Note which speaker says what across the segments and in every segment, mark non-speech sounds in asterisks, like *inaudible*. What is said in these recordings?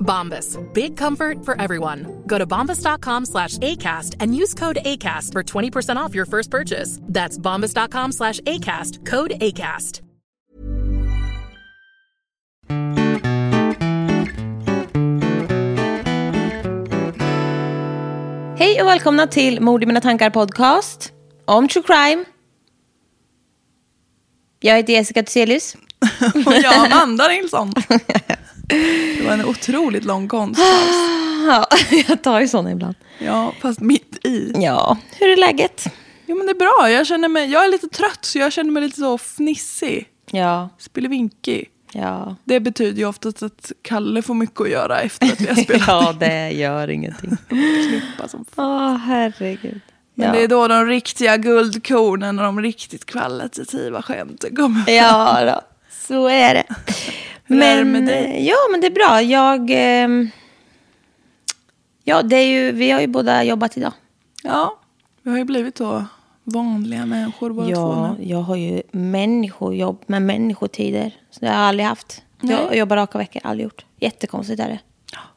Speaker 1: Bombas. Big comfort for everyone. Go to bombas.com slash ACAST and use code ACAST for 20% off your first purchase. That's bombas.com slash ACAST. Code ACAST.
Speaker 2: Hej och välkomna till Mord i mina tankar podcast om true crime. Jag heter Jessica Thyselius.
Speaker 3: Och jag Amanda Nilsson. Det var en otroligt lång konstpaus.
Speaker 2: Ja, jag tar ju sådana ibland.
Speaker 3: Ja, fast mitt i.
Speaker 2: Ja, hur är läget?
Speaker 3: Jo men det är bra, jag känner mig, jag är lite trött så jag känner mig lite så fnissig.
Speaker 2: Ja,
Speaker 3: Spelevinkig.
Speaker 2: ja.
Speaker 3: Det betyder ju oftast att Kalle får mycket att göra efter att vi har
Speaker 2: *laughs*
Speaker 3: spelat
Speaker 2: Ja, det gör ingenting.
Speaker 3: klippa som fan.
Speaker 2: Åh, herregud.
Speaker 3: Men
Speaker 2: ja.
Speaker 3: det är då de riktiga guldkornen och de riktigt kvalitativa skämten kommer. fram.
Speaker 2: Ja, då. så är det.
Speaker 3: Hur är det
Speaker 2: Men, eh,
Speaker 3: med dig?
Speaker 2: Ja, men det är bra. Jag... ehm, ja, det är ju, vi har ju båda jobbat idag.
Speaker 3: Ja, vi har ju blivit då vanliga människor båda två
Speaker 2: Ja,
Speaker 3: nu.
Speaker 2: jag har ju människojobb med människotider. Så det har jag aldrig haft. Jag jobbar raka veckor, aldrig gjort. Jättekonstigt är det.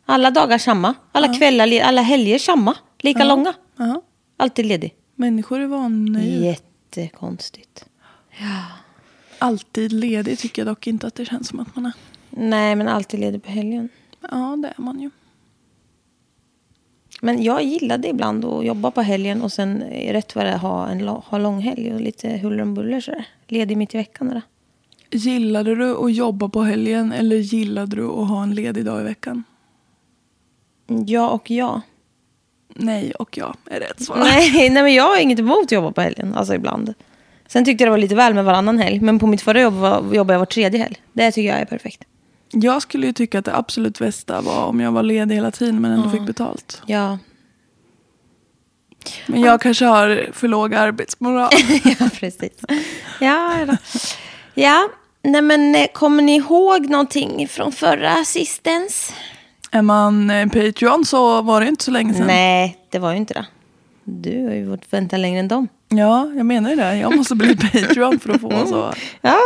Speaker 2: Alla dagar samma. Alla kvällar, li- alla helger samma. Lika långa.
Speaker 3: Ja,
Speaker 2: Alltid ledig.
Speaker 3: människor är vanliga.
Speaker 2: Jättekonstigt.
Speaker 3: Alltid ledig tycker jag dock inte att det känns som att man är.
Speaker 2: Nej, men alltid ledig på helgen.
Speaker 3: Ja, det är man ju.
Speaker 2: Men jag gillade ibland att jobba på helgen och sen eh, rätt vad det är ha en la- ha lång helg och lite huller om buller sådär. Ledig mitt i veckan. Där.
Speaker 3: Gillade du att jobba på helgen eller gillade du att ha en ledig dag i veckan?
Speaker 2: Ja och ja.
Speaker 3: Nej och ja är rätt svar.
Speaker 2: Nej, nej, men jag har inget emot att jobba på helgen. Alltså ibland. Sen tyckte jag det var lite väl med varannan helg. Men på mitt förra jobb var, jobbade jag var tredje helg. Det tycker jag är perfekt.
Speaker 3: Jag skulle ju tycka att det absolut bästa var om jag var ledig hela tiden men ändå fick betalt.
Speaker 2: Ja,
Speaker 3: Men jag kanske har för låg
Speaker 2: *laughs*
Speaker 3: arbetsmoral.
Speaker 2: *laughs* ja precis. Ja, då. ja. Nej, men eh, kommer ni ihåg någonting från förra sistens?
Speaker 3: är man eh, Patreon så var det inte så länge sedan.
Speaker 2: Nej, det var ju inte det. Du har ju fått vänta längre än dem.
Speaker 3: Ja, jag menar ju det. Jag
Speaker 2: *laughs*
Speaker 3: måste bli Patreon för att få
Speaker 2: Mm.
Speaker 3: så.
Speaker 2: Ja.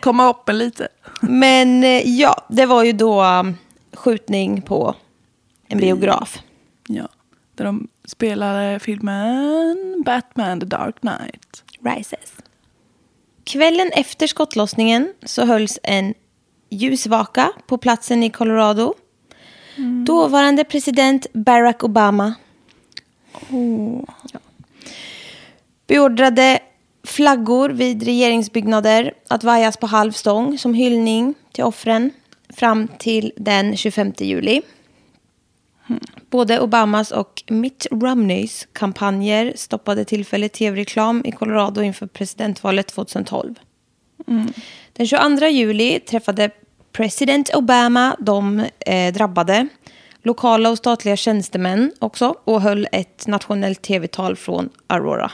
Speaker 3: komma upp en lite.
Speaker 2: Men eh, ja, det var ju då um, skjutning på en biograf.
Speaker 3: Ja. Där de spelade filmen Batman the Dark Knight.
Speaker 2: Rises. Kvällen efter skottlossningen så hölls en ljusvaka på platsen i Colorado. Dåvarande president Barack Obama Ja. beordrade flaggor vid regeringsbyggnader att vajas på halv stång som hyllning till offren fram till den 25 juli. Både Obamas och Mitt Romneys kampanjer stoppade tillfälligt tv-reklam i Colorado inför presidentvalet 2012. Den 22 juli träffade president Obama de eh, drabbade, lokala och statliga tjänstemän också och höll ett nationellt tv-tal från Aurora.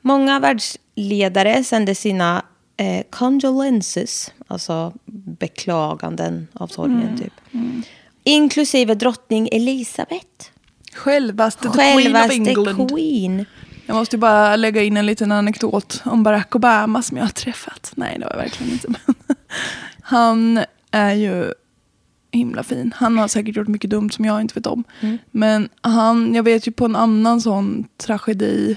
Speaker 2: Många världsledare sände sina eh, condolences, alltså beklaganden av sorgen typ. Inklusive drottning Elisabeth.
Speaker 3: Självaste, the Queen of
Speaker 2: Självaste
Speaker 3: England.
Speaker 2: queen.
Speaker 3: Jag måste ju bara lägga in en liten anekdot om Barack Obama som jag har träffat. Nej, det var jag verkligen inte. Men *laughs* han är ju himla fin. Han har säkert gjort mycket dumt som jag inte vet om.
Speaker 2: Mm.
Speaker 3: Men han, jag vet ju på en annan sån tragedi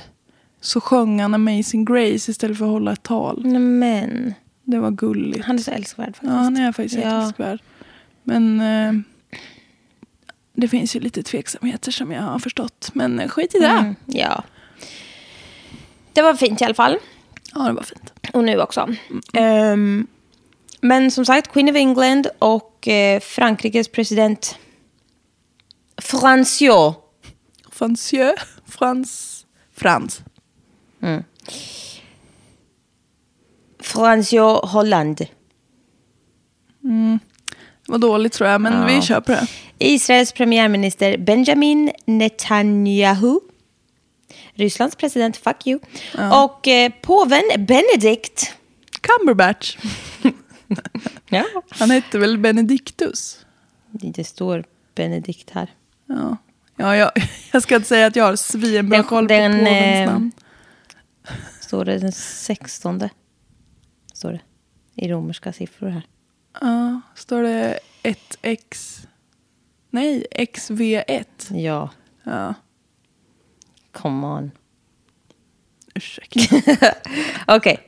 Speaker 3: så sjöng han Amazing Grace istället för att hålla ett tal.
Speaker 2: Men,
Speaker 3: Det var gulligt.
Speaker 2: Mm. han är så älskvärd faktiskt.
Speaker 3: Ja, han är faktiskt helt
Speaker 2: Ja.
Speaker 3: älskvärd. Men eh, det finns ju lite tveksamheter som jag har förstått. Men eh, skit i det.
Speaker 2: Mm, ja. Det var fint i alla fall.
Speaker 3: Ja, det var fint.
Speaker 2: Och nu också.
Speaker 3: Mm.
Speaker 2: Ehm, men som sagt, Queen of England och eh, Frankrikes president Francio
Speaker 3: Francieux. Frans. Frans.
Speaker 2: Francio Hollande.
Speaker 3: Det var dåligt tror jag, men vi kör på det.
Speaker 2: Israels premiärminister Benjamin Netanyahu. Rysslands president, fuck you. Och eh, påven Benedikt.
Speaker 3: Cumberbatch.
Speaker 2: Ja.
Speaker 3: Han hette väl Benedictus?
Speaker 2: Det står Benedikt här.
Speaker 3: Ja, ja *laughs* jag, jag ska inte säga att jag har svinbra
Speaker 2: Den-
Speaker 3: koll på
Speaker 2: den,
Speaker 3: påvens
Speaker 2: eh,
Speaker 3: namn.
Speaker 2: Står det den 16? Står det. I romerska siffror här.
Speaker 3: Ja, står det 1x... Nej, XV1.
Speaker 2: Ja,
Speaker 3: Ja,
Speaker 2: come on.
Speaker 3: ursäkta.
Speaker 2: *laughs* Okej.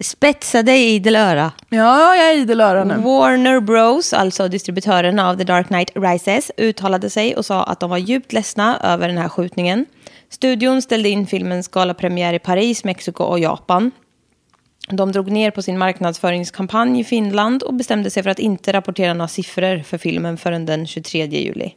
Speaker 2: Spetsade idel öra.
Speaker 3: Ja, jag är idel öra nu.
Speaker 2: Warner Bros, alltså distributören av The Dark Knight Rises, uttalade sig och sa att de var djupt ledsna över den här skjutningen. Studion ställde in filmens galapremiär i Paris, Mexiko och Japan. De drog ner på sin marknadsföringskampanj i Finland och bestämde sig för att inte rapportera några siffror för filmen förrän den 23 juli.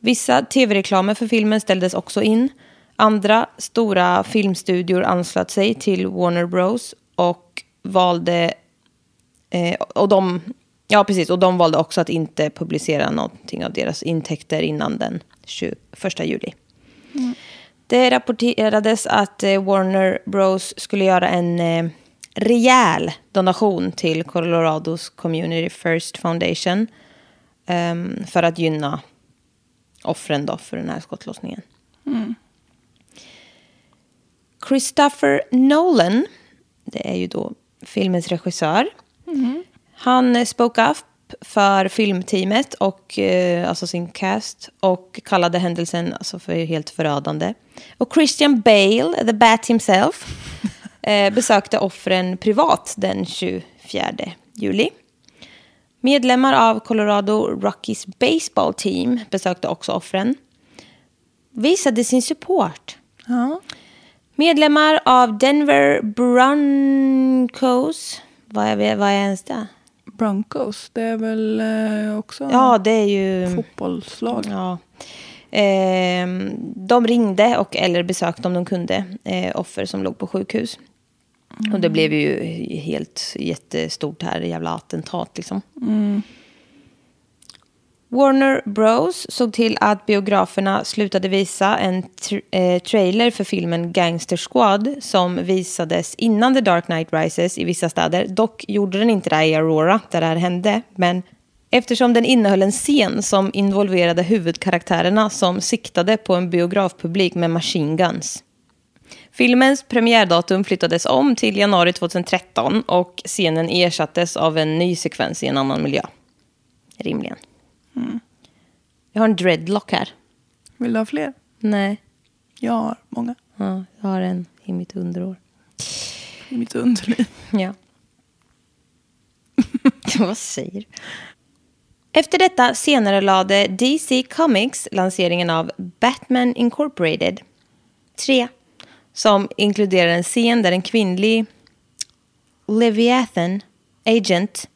Speaker 2: Vissa tv-reklamer för filmen ställdes också in. Andra stora filmstudior anslöt sig till Warner Bros och valde Eh, och, de, ja, precis, och de valde också att inte publicera någonting av deras intäkter innan den 21 juli. Det rapporterades att eh, Warner Bros skulle göra en eh, rejäl donation till Colorados Community First Foundation ehm, för att gynna offren då för den här skottlossningen. Christopher Nolan, det är ju då filmens regissör. Han eh, spoke up för filmteamet och eh, alltså sin cast och kallade händelsen alltså för helt förödande. Och Christian Bale, eh, the bat himself, eh, besökte offren privat den 24 juli. Medlemmar av Colorado Rockies baseball team besökte också offren. Visade sin support.
Speaker 3: Ja.
Speaker 2: Medlemmar av Denver Broncos. Vad är, vad är ens det?
Speaker 3: Broncos, det är väl eh, också
Speaker 2: Ja, det är ju...
Speaker 3: fotbollslag.
Speaker 2: Ja. Ehm, de ringde och eller besökte om de kunde eh, offer som låg på sjukhus. Och det blev ju helt jättestort här, jävla attentat liksom. Warner Bros såg till att biograferna slutade visa en tr- eh, trailer för filmen Gangster Squad som visades innan The Dark Knight Rises i vissa städer. Dock gjorde den inte det här i Aurora där det här hände, men eftersom den innehöll en scen som involverade huvudkaraktärerna som siktade på en biografpublik med machine guns. Filmens premiärdatum flyttades om till januari 2013 och scenen ersattes av en ny sekvens i en annan miljö. Rimligen. Jag har en dreadlock här.
Speaker 3: Vill du ha fler?
Speaker 2: Nej.
Speaker 3: Jag har många
Speaker 2: Ja, jag har en i mitt underår.
Speaker 3: i mitt underliv.
Speaker 2: Ja. *laughs* Vad säger du? Efter detta senare lade DC Comics lanseringen av Batman Incorporated 3. Som inkluderar en scen där en kvinnlig Leviathan Agent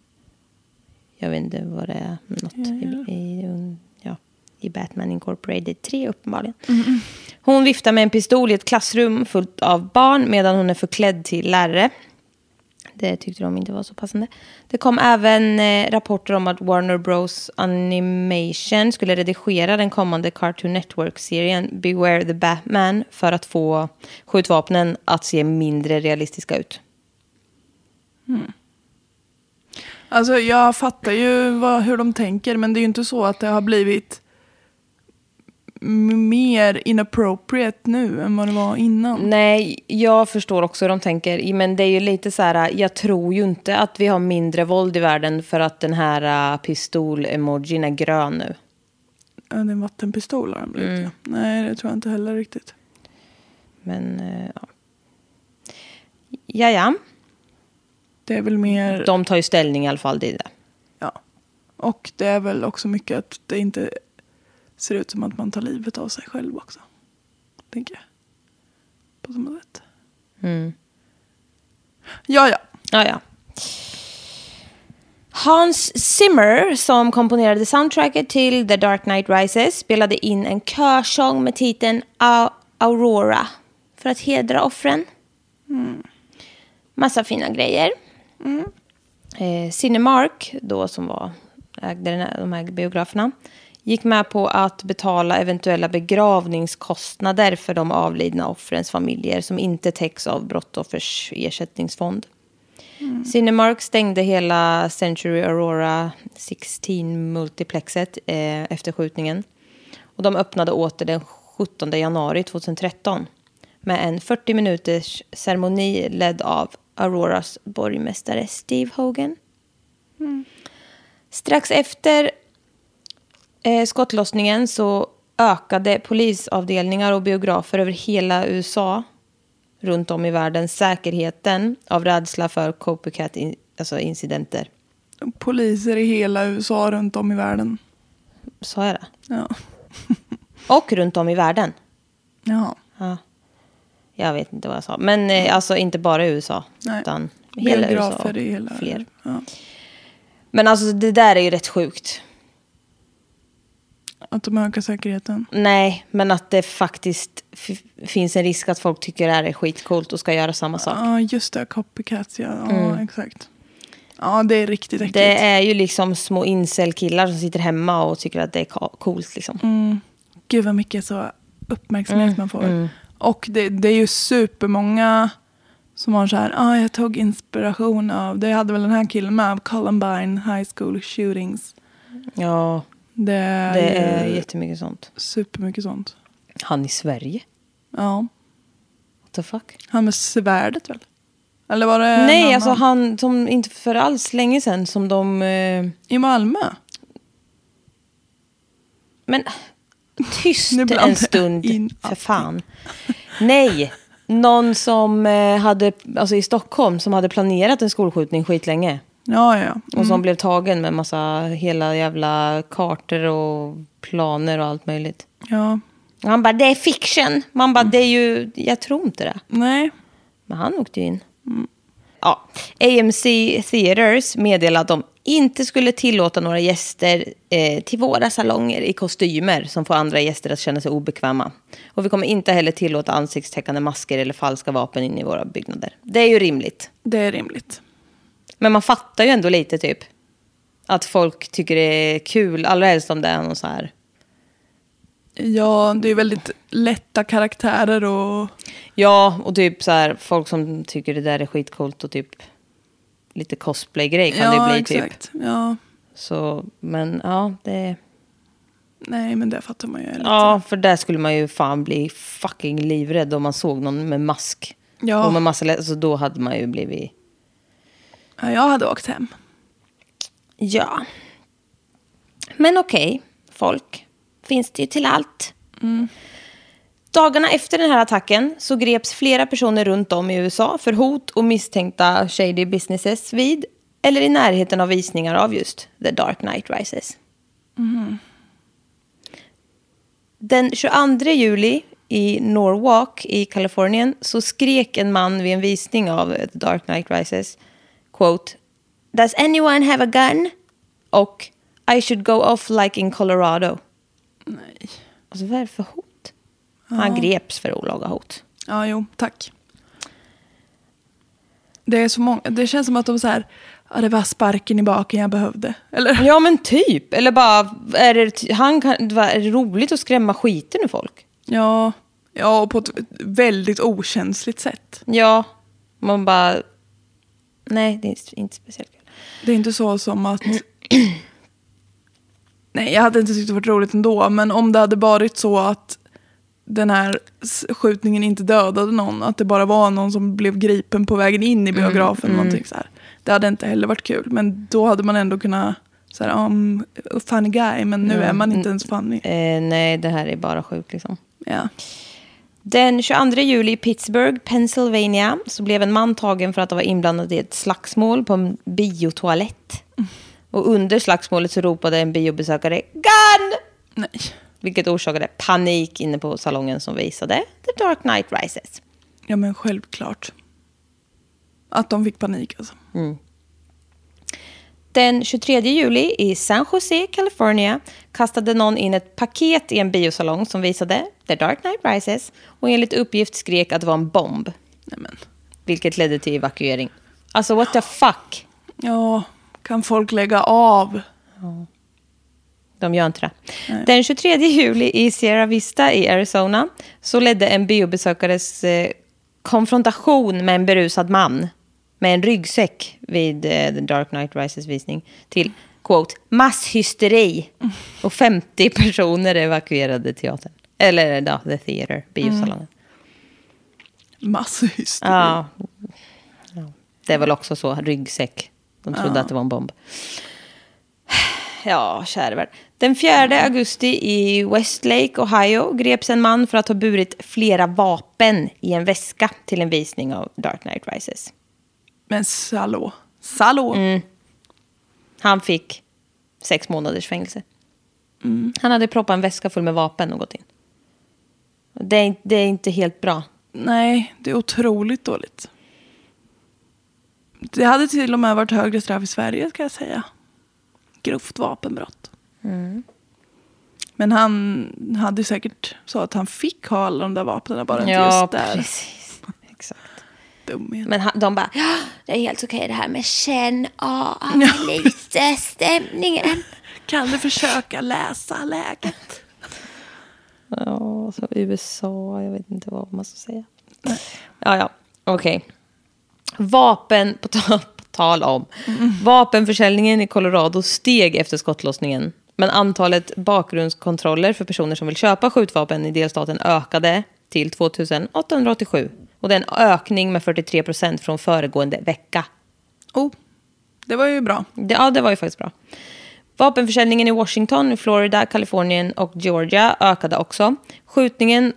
Speaker 2: Jag vet inte vad det är. Något I, i, ja, i Batman Incorporated 3 uppenbarligen. Hon viftar med en pistol i ett klassrum fullt av barn medan hon är förklädd till lärare. Det tyckte de inte var så passande. Det kom även eh, rapporter om att Warner Bros Animation skulle redigera den kommande Cartoon Network-serien Beware the Batman för att få skjutvapnen att se mindre realistiska ut.
Speaker 3: Alltså jag fattar ju vad, hur de tänker men det är ju inte så att det har blivit m- mer inappropriate nu än vad det var innan.
Speaker 2: Nej, jag förstår också hur de tänker. I- Men det är ju lite så här, jag tror ju inte att vi har mindre våld i världen för att den här eh, pistol-emojin är grön nu.
Speaker 3: Ja, det är en vattenpistol har den blivit
Speaker 2: Mm.
Speaker 3: ja. Nej det tror jag inte heller riktigt.
Speaker 2: Men eh, ja. Jaja,
Speaker 3: Det är väl mer,
Speaker 2: de tar ju ställning i alla fall till det.
Speaker 3: ja. Och det är väl också mycket att det inte ser ut som att man tar livet av sig själv också. Tänker jag. På samma sätt.
Speaker 2: Mm.
Speaker 3: Ja ja.
Speaker 2: Ja, ja. Hans Zimmer, som komponerade soundtracket till The Dark Knight Rises, spelade in en körsång med titeln A- Aurora för att hedra offren. Massa fina grejer. Eh, Cinemark, då som var, ägde den här, de här biograferna, gick med på att betala eventuella begravningskostnader för de avlidna offrens familjer som inte täcks av brottsoffers ersättningsfond. Cinemark stängde hela Century Aurora 16-multiplexet eh, efter skjutningen. Och de öppnade åter den 17 januari 2013 med en 40 minuters ceremoni ledd av Auroras borgmästare Steve Hogan. Strax efter eh, skottlossningen så ökade polisavdelningar och biografer över hela USA runt om i världen säkerheten av rädsla för copycat in, alltså incidenter.
Speaker 3: Poliser i hela USA runt om i världen.
Speaker 2: Sa jag det?
Speaker 3: Ja.
Speaker 2: Och runt om i världen.
Speaker 3: Jaha.
Speaker 2: Ja. Jag vet inte vad jag sa. Men eh, alltså inte bara i USA.
Speaker 3: Mm. Nej.
Speaker 2: Utan hela USA.
Speaker 3: Biografer
Speaker 2: och
Speaker 3: i hela
Speaker 2: Fler.
Speaker 3: Ja.
Speaker 2: Men alltså det där är ju rätt sjukt.
Speaker 3: Att de ökar säkerheten.
Speaker 2: Nej, men att det faktiskt f- finns en risk att folk tycker det här är skitcoolt och ska göra samma sak. Mm.
Speaker 3: Ja, just det. Copycats, ja. Ja, exakt. Ja, det är riktigt äckligt.
Speaker 2: Det är ju liksom små incel-killar som sitter hemma och tycker att det är ca- coolt liksom.
Speaker 3: Mm. Gud vad mycket så uppmärksamhet
Speaker 2: Mm,
Speaker 3: man får. Och det, det är ju supermånga som har så här, ah, jag tog inspiration av, det hade väl den här killen med, av Columbine High School Shootings.
Speaker 2: Ja,
Speaker 3: Det är,
Speaker 2: det är
Speaker 3: ju
Speaker 2: jättemycket sånt.
Speaker 3: supermycket sånt.
Speaker 2: Han i Sverige?
Speaker 3: Ja,
Speaker 2: What the fuck?
Speaker 3: han med svärdet väl? Eller var det Äh, en
Speaker 2: Nej,
Speaker 3: annan?
Speaker 2: alltså han som inte för alls länge sedan som de... Eh,
Speaker 3: I Malmö?
Speaker 2: men tyst
Speaker 3: Nu blandar
Speaker 2: en
Speaker 3: jag
Speaker 2: stund,
Speaker 3: in
Speaker 2: för
Speaker 3: allt.
Speaker 2: fan. Nej, någon som eh, hade, alltså i Stockholm, som hade planerat en skolskjutning skitlänge.
Speaker 3: Ja, ja, Mm, ja.
Speaker 2: Och som blev tagen med massa hela jävla kartor och planer och allt möjligt.
Speaker 3: ja.
Speaker 2: Och han bara, det är fiction. Man bara, det är ju, jag tror inte det.
Speaker 3: Nej.
Speaker 2: Men han åkte ju in. Mm. Ja. AMC Theaters meddelade att de inte skulle tillåta några gäster eh, till våra salonger i kostymer som får andra gäster att känna sig obekväma. Och vi kommer inte heller tillåta ansiktstäckande masker eller falska vapen in i våra byggnader. Det är ju rimligt.
Speaker 3: Det är rimligt.
Speaker 2: Men man fattar ju ändå lite typ att folk tycker det är kul, allra helst om det är någon så här...
Speaker 3: Ja, det är väldigt lätta karaktärer och...
Speaker 2: Ja, och typ så här folk som tycker det där är skitcoolt och typ lite cosplay-grej kan det
Speaker 3: ja,
Speaker 2: ju bli typ.
Speaker 3: exakt. Ja,
Speaker 2: Så, men ja, det...
Speaker 3: nej men det fattar man ju. Lite.
Speaker 2: Ja, för där skulle man ju fan bli fucking livrädd om man såg någon med mask.
Speaker 3: Ja.
Speaker 2: Och med massa lä- så då hade man ju blivit...
Speaker 3: Ja, jag hade åkt hem.
Speaker 2: Ja. Men okej, folk. Finns det ju till allt. Dagarna efter den här attacken så greps flera personer runt om i USA för hot och misstänkta shady businesses vid eller i närheten av visningar av just The Dark Knight Rises. Den 22 juli i Norwalk i Kalifornien så skrek en man vid en visning av The Dark Knight Rises quote Does anyone have a gun? Och I should go off like in Colorado.
Speaker 3: Nej.
Speaker 2: Alltså vad är det för hot? Han greps för olaga hot.
Speaker 3: Ja, jo, tack. Det, är så många, det känns som att de så här, ja, det var sparken i baken jag behövde. Eller?
Speaker 2: Ja men typ. Eller bara, är det, ty- han kan, va, är det roligt att skrämma skiten ur folk?
Speaker 3: Ja, ja, och på ett väldigt okänsligt sätt.
Speaker 2: Ja. Man bara, nej det är inte speciellt kul.
Speaker 3: Det är inte så som att... *clears throat* Nej, jag hade inte tyckt det varit roligt ändå, men om det hade varit så att den här s- skjutningen inte dödade någon, att det bara var någon som blev gripen på vägen in
Speaker 2: Mm,
Speaker 3: i biografen. eller Någonting så här. Det hade inte heller varit kul, men då hade man ändå kunnat så här, um, funny guy, men nu är man inte ens funny.
Speaker 2: Mm, Eh, nej det här är bara sjukt liksom.
Speaker 3: Ja.
Speaker 2: Den 22 juli i Pittsburgh, Pennsylvania, så blev en man tagen för att han var inblandad i ett slagsmål på en biotoalett. Och under slagsmålet så ropade en biobesökare “Gun!”
Speaker 3: Nej.
Speaker 2: vilket orsakade panik inne på salongen som visade The Dark Knight Rises.
Speaker 3: Ja, men självklart. Att de fick panik alltså.
Speaker 2: Den 23 juli i San Jose, California, kastade någon in ett paket i en biosalong som visade The Dark Knight Rises och enligt uppgift skrek att det var en bomb,
Speaker 3: Nej, men.
Speaker 2: vilket ledde till evakuering. Alltså what the fuck?
Speaker 3: Ja, kan folk lägga av?
Speaker 2: De gör inte det. Den 23 juli i Sierra Vista i Arizona så ledde en biobesökares eh, konfrontation med en berusad man med en ryggsäck vid eh, The Dark Knight Rises visning till quote, masshysteri. Och 50 personer evakuerade teatern. Eller ja, the theater, biosalongen.
Speaker 3: Masshysteri.
Speaker 2: Ja. Det är väl också så, ryggsäck. De trodde att det var en bomb. Ja, kära värld. Den 4 augusti i Westlake, Ohio, greps en man för att ha burit flera vapen i en väska till en visning av Dark Knight Rises.
Speaker 3: Men salå. Salå.
Speaker 2: Mm. Han fick sex månaders fängelse.
Speaker 3: Mm.
Speaker 2: Han hade proppat en väska full med vapen och gått in. Det är, det är inte helt bra.
Speaker 3: Nej, det är otroligt dåligt. Det hade till och med varit högre straff i Sverige ska jag säga. Grovt vapenbrott.
Speaker 2: Mm.
Speaker 3: Men han hade säkert så att han fick ha alla de där vapnen bara inte just där.
Speaker 2: precis. Exakt.
Speaker 3: Dumhet.
Speaker 2: Men han, de bara, "Ja, det är helt okej det här med känn av lite stämningen.
Speaker 3: Kan du försöka läsa läget?
Speaker 2: Ja, alltså så USA, jag vet inte vad man ska säga. Ja, ja, okej. Vapen, på, ta- på tal om. Vapenförsäljningen i Colorado steg efter skottlossningen. Men antalet bakgrundskontroller för personer som vill köpa skjutvapen i delstaten ökade till 2887. Och det är en ökning med 43 procent från föregående vecka.
Speaker 3: Oh, det var ju bra.
Speaker 2: Det, ja, det var ju faktiskt bra. Vapenförsäljningen i Washington, Florida, Kalifornien och Georgia ökade också. Skjutningen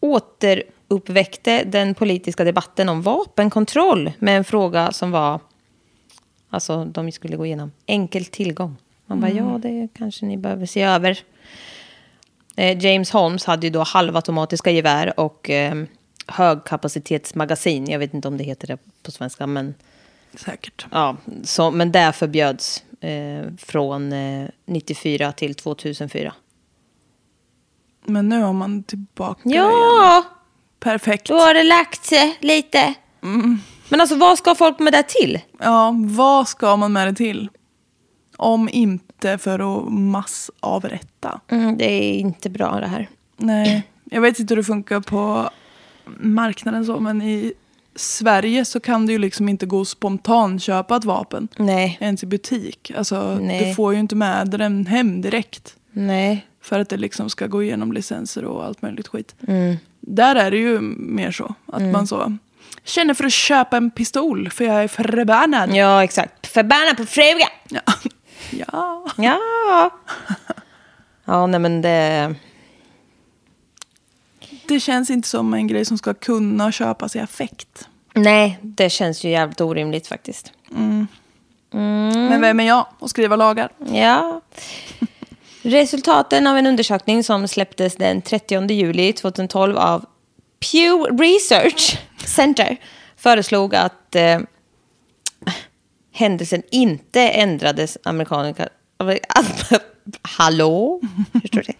Speaker 2: återuppväckte den politiska debatten om vapenkontroll med en fråga som var... Alltså, de skulle gå igenom. Enkel tillgång. Man bara, ja, det kanske ni behöver se över. Eh, James Holmes hade ju då halvautomatiska gevär och eh, högkapacitetsmagasin. Jag vet inte om det heter det på svenska, men...
Speaker 3: Säkert.
Speaker 2: Ja, så, men det förbjöds eh, från eh, 94 till 2004.
Speaker 3: Men nu har man tillbaka igen.
Speaker 2: Ja,
Speaker 3: Perfekt.
Speaker 2: då har det lagt sig lite. Men alltså vad ska folk med det till?
Speaker 3: Ja, vad ska man med det till? Om inte för att massavrätta.
Speaker 2: Mm, det är inte bra det här.
Speaker 3: Nej, jag vet inte hur det funkar på marknaden så, men i Sverige så kan du ju liksom inte gå och spontanköpa ett vapen.
Speaker 2: Nej,
Speaker 3: Ens i butik. Alltså,
Speaker 2: Nej.
Speaker 3: du får ju inte med den hem direkt.
Speaker 2: nej.
Speaker 3: För att det liksom ska gå igenom licenser och allt möjligt skit.
Speaker 2: Mm.
Speaker 3: Där är det ju mer så. Att man så känner för att köpa en pistol för jag är förbannad.
Speaker 2: Ja, exakt. Förbannad på frugan!
Speaker 3: Ja. *laughs* ja.
Speaker 2: *laughs* Ja. Ja, nej men det...
Speaker 3: Det känns inte som en grej som ska kunna köpas i affekt.
Speaker 2: Nej, det känns ju jävligt orimligt faktiskt. Mm.
Speaker 3: Men vem är jag att skriva lagar?
Speaker 2: Ja. Resultaten av en undersökning som släpptes den 30 juli 2012 av Pew Research Center föreslog att eh, händelsen inte ändrades amerikanska... Att, *laughs* hallå? Förstår du?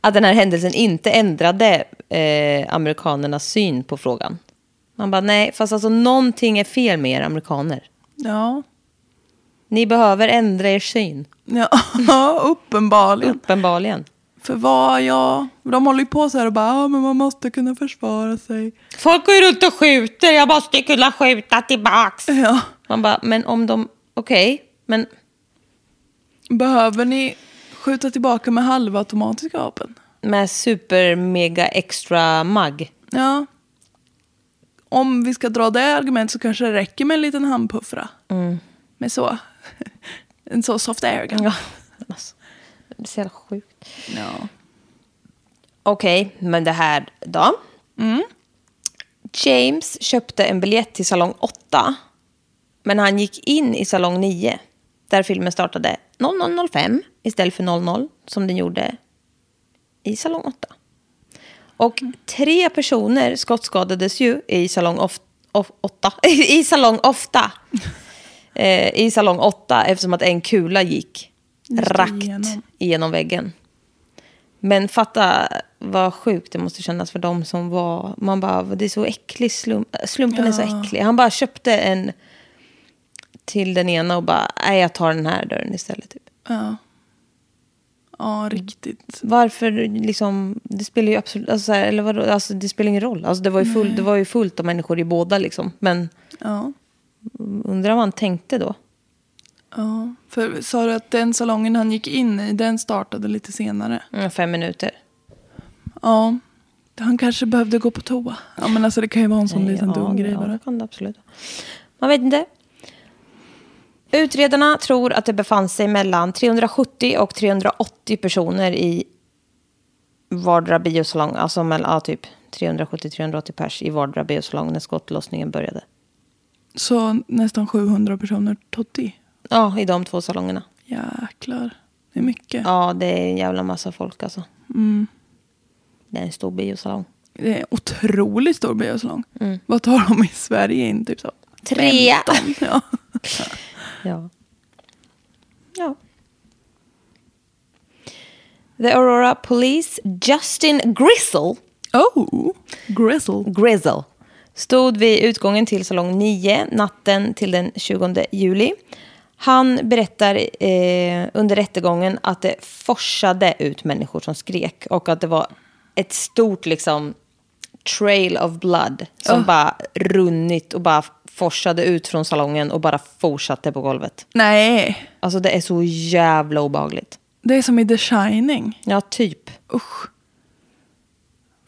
Speaker 2: Att den här händelsen inte ändrade eh, amerikanernas syn på frågan. Man bara, nej, fast alltså någonting är fel med er amerikaner.
Speaker 3: Ja,
Speaker 2: Ni behöver ändra er syn,
Speaker 3: ja *laughs* uppenbarligen.
Speaker 2: uppenbarligen.
Speaker 3: För vad jag... De håller ju på så här och bara, ah, men man måste kunna försvara sig. *laughs*
Speaker 2: Folk går ju runt och skjuter, jag måste ju kunna skjuta tillbaks.
Speaker 3: Ja.
Speaker 2: Man bara, men om de, okej, men
Speaker 3: Behöver ni skjuta tillbaka med halvautomatiska vapen?
Speaker 2: med super mega extra mag.
Speaker 3: Ja. Om vi ska dra det argumentet så kanske det räcker med en liten handpuffra. Med så. *laughs* En så soft airgun.
Speaker 2: Mm. Ja, alltså, det är så jävla sjukt.
Speaker 3: Ja.
Speaker 2: Okej, men det här då? Mm. James köpte en biljett till salong 8, men han gick in i salong 9, där filmen startade 00.05 istället för 00, som den gjorde i salong 8. Och tre personer skottskadades ju i salong of, of, 8. *laughs* I salong ofta. Eh, I salong 8 eftersom att en kula gick rakt
Speaker 3: igenom.
Speaker 2: igenom. väggen. Men fatta vad sjukt det måste kännas för dem som var... Man bara, det är så äcklig slump, slumpen är så äcklig. Han bara köpte en till den ena och bara, nej jag tar den här dörren istället. Typ.
Speaker 3: Ja. Ja, riktigt.
Speaker 2: Varför liksom, det spelar ju absolut, alltså, så här, eller vadå, alltså, det spelar ingen roll. Alltså, det, var ju full, det var ju fullt av människor i båda liksom. Men
Speaker 3: Ja.
Speaker 2: undrar vad han tänkte då?
Speaker 3: ja. För sa du att den salongen han gick in i, den startade lite senare?
Speaker 2: Mm, fem minuter.
Speaker 3: Ja. Han kanske behövde gå på toa. Ja, men alltså det kan ju vara en sån liten dum grej
Speaker 2: Ja,
Speaker 3: bara.
Speaker 2: det kan det absolut. vara. Man vet inte. Utredarna tror att det befann sig mellan 370 och 380 personer i vardera biosalong. Alltså mellan, ja, typ 370-380 pers i vardera biosalong när skottlossningen började.
Speaker 3: Så nästan 700 personer totti.
Speaker 2: Ja, i de två salongerna.
Speaker 3: Jäklar. Det är mycket.
Speaker 2: Ja, det är en jävla massa folk alltså. Det är en stor biosalong.
Speaker 3: Det är en otroligt stor biosalong. Vad tar de i Sverige in? Typ så?
Speaker 2: Mm. Tre!
Speaker 3: Ja.
Speaker 2: Ja. Ja. The Aurora Police, Justin Grizzle,
Speaker 3: Oh, grizzle.
Speaker 2: Grizzle stod vid utgången till salong 9 natten till den 20 juli. Han berättar eh, under rättegången att det forsade ut människor som skrek och att det var ett stort liksom trail of blood som bara runnit och bara forsade ut från salongen och bara fortsatte på golvet.
Speaker 3: Nej,
Speaker 2: Alltså det är så jävla obehagligt.
Speaker 3: det är som i The Shining.
Speaker 2: Ja, typ.
Speaker 3: Usch.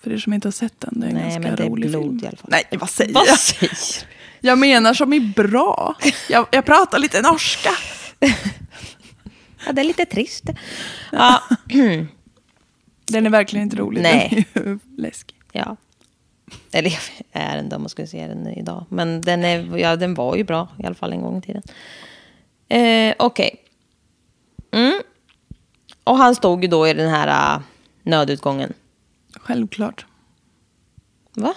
Speaker 3: För er som inte har sett den, det är en
Speaker 2: Nej,
Speaker 3: ganska
Speaker 2: men det är
Speaker 3: rolig
Speaker 2: blod
Speaker 3: film.
Speaker 2: i alla fall.
Speaker 3: Nej, vad säger
Speaker 2: Vad
Speaker 3: jag?
Speaker 2: säger du?
Speaker 3: Jag menar som är bra. Jag, jag pratar lite norska.
Speaker 2: *laughs* Ja, det är lite trist. Ja,
Speaker 3: *clears throat* Den är verkligen inte rolig.
Speaker 2: Nej.
Speaker 3: Den är ju läskig.
Speaker 2: ja. Eller jag vet- är den då, om man skulle se den idag. Men den, är, ja, den var ju bra, i alla fall en gång i tiden. Eh, Okej. Mm. Och han stod ju då i den här uh, nödutgången.
Speaker 3: Självklart.
Speaker 2: Va?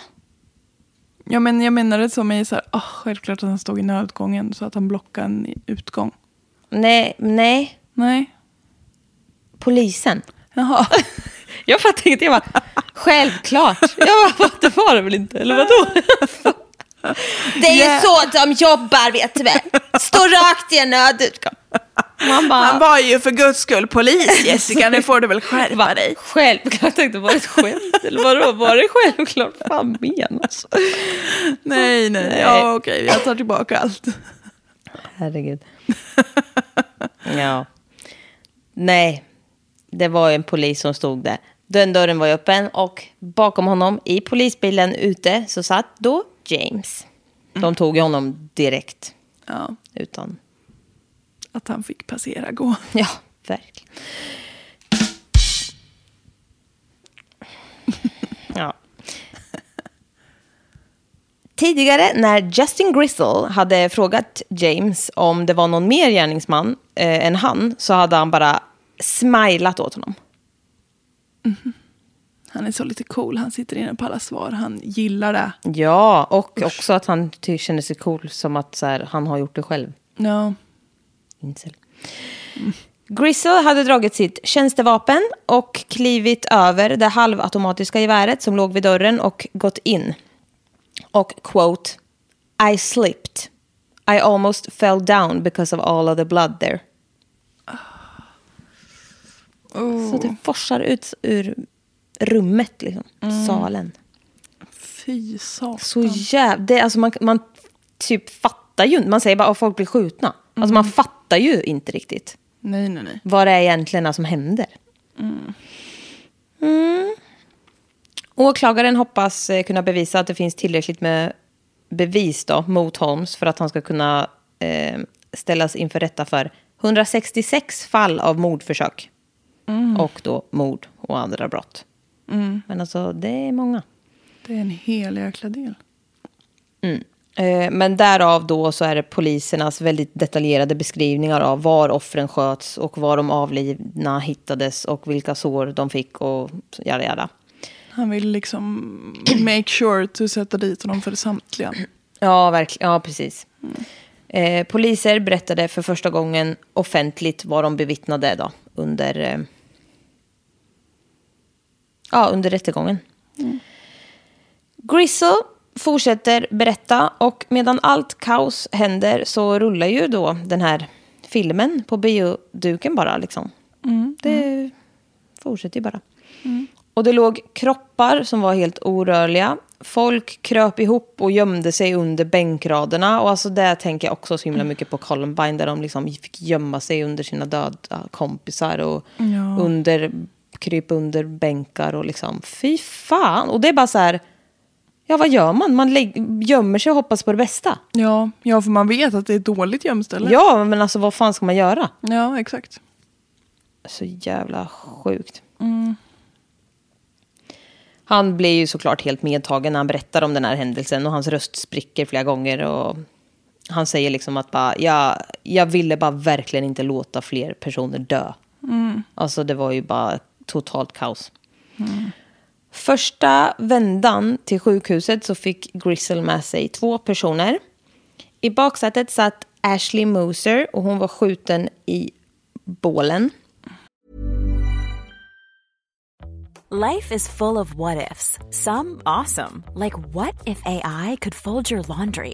Speaker 3: Ja, men jag menar det som är så här, ah, självklart att han stod i nödutgången så att han blockade en utgång.
Speaker 2: Nej, nej.
Speaker 3: Nej.
Speaker 2: Polisen. *laughs*
Speaker 3: Jaha.
Speaker 2: Jag fattar ingenting. Jag bara, självklart. Jag bara, vad, det var det väl inte? Eller vadå? *laughs* Det är
Speaker 3: Yeah.
Speaker 2: ju så de jobbar, vet du väl. Stå rakt i en nödutgång. Man bara,
Speaker 3: Han var ju för guds
Speaker 2: *laughs*
Speaker 3: skull polis Jessica, nu får du väl skärpa dig.
Speaker 2: självklart. Jag tänkte, var det ett skämt? Eller vadå, var det självklart? Fan menas?
Speaker 3: Nej, nej, nej. Ja, okej, jag tar tillbaka allt.
Speaker 2: Herregud. Ja. Nej, det var ju en polis som stod där. Den dörren var ju öppen och bakom honom i polisbilen ute så satt då James. De tog ju honom direkt.
Speaker 3: Ja,
Speaker 2: Utan,
Speaker 3: att han fick passera gå.
Speaker 2: ja, verkligen. Ja. Tidigare när Justin Gristle hade frågat James om det var någon mer gärningsman eh, än han så hade han bara smilat åt honom.
Speaker 3: Han är så lite cool, han sitter inne på alla svar, han gillar det.
Speaker 2: Ja, och också att han ty- känner sig cool som att så här, han har gjort det själv.
Speaker 3: Ja,
Speaker 2: Insel. Gristle hade dragit sitt tjänstevapen och klivit över det halvautomatiska geväret som låg vid dörren och gått in. Och quote, I slipped. I almost fell down because of all of the blood there. Så det forsar ut ur rummet, liksom. Salen.
Speaker 3: Fy satan.
Speaker 2: Så jävla... Det, alltså man, man typ fattar ju inte. Man säger bara att folk blir skjutna. Alltså man fattar ju inte riktigt
Speaker 3: Nej, nej, nej.
Speaker 2: vad det är egentligen som händer. Mm. Åklagaren hoppas eh, kunna bevisa att det finns tillräckligt med bevis då, mot Holmes för att han ska kunna eh, ställas inför rätta för 166 fall av mordförsök. Och då mord och andra brott. Men alltså, det är många.
Speaker 3: Det är en hel jäkla del.
Speaker 2: Eh, Men därav då så är det polisernas väldigt detaljerade beskrivningar av var offren sköts och var de avlidna hittades och vilka sår de fick och jada jada.
Speaker 3: Han vill liksom *clears throat* make sure to sätta dit honom för samtliga.
Speaker 2: Ja, verkligen. Ja, precis. Eh, poliser berättade för första gången offentligt vad de bevittnade då, under, eh, ja, under rättegången. Gristle fortsätter berätta och medan allt kaos händer så rullar ju då den här filmen på bioduken bara. Liksom. Det fortsätter ju bara. Och det låg kroppar som var helt orörliga. Folk kröp ihop och gömde sig under bänkraderna. Och alltså där tänker jag också så himla mycket på Columbine där de liksom fick gömma sig under sina döda kompisar och
Speaker 3: Ja.
Speaker 2: under, kryp under bänkar och liksom fy fan. Och det är bara så här, ja vad gör man? Man lägg, gömmer sig och hoppas på det bästa.
Speaker 3: Ja, ja, för man vet att det är ett dåligt gömställe.
Speaker 2: Ja, men alltså vad fan ska man göra?
Speaker 3: ja exakt.
Speaker 2: Så jävla sjukt. Mm. Han blir ju såklart helt medtagen när han berättar om den här händelsen och hans röst spricker flera gånger. Och han säger liksom att bara, jag, jag ville bara verkligen inte låta fler personer dö. Alltså det var ju bara totalt kaos. Mm. Första vändan till sjukhuset så fick Gristle med sig två personer. I baksätet satt Ashley Moser och hon var skjuten i bålen.
Speaker 4: Life is full of what ifs. Some awesome, like what if AI could fold your laundry?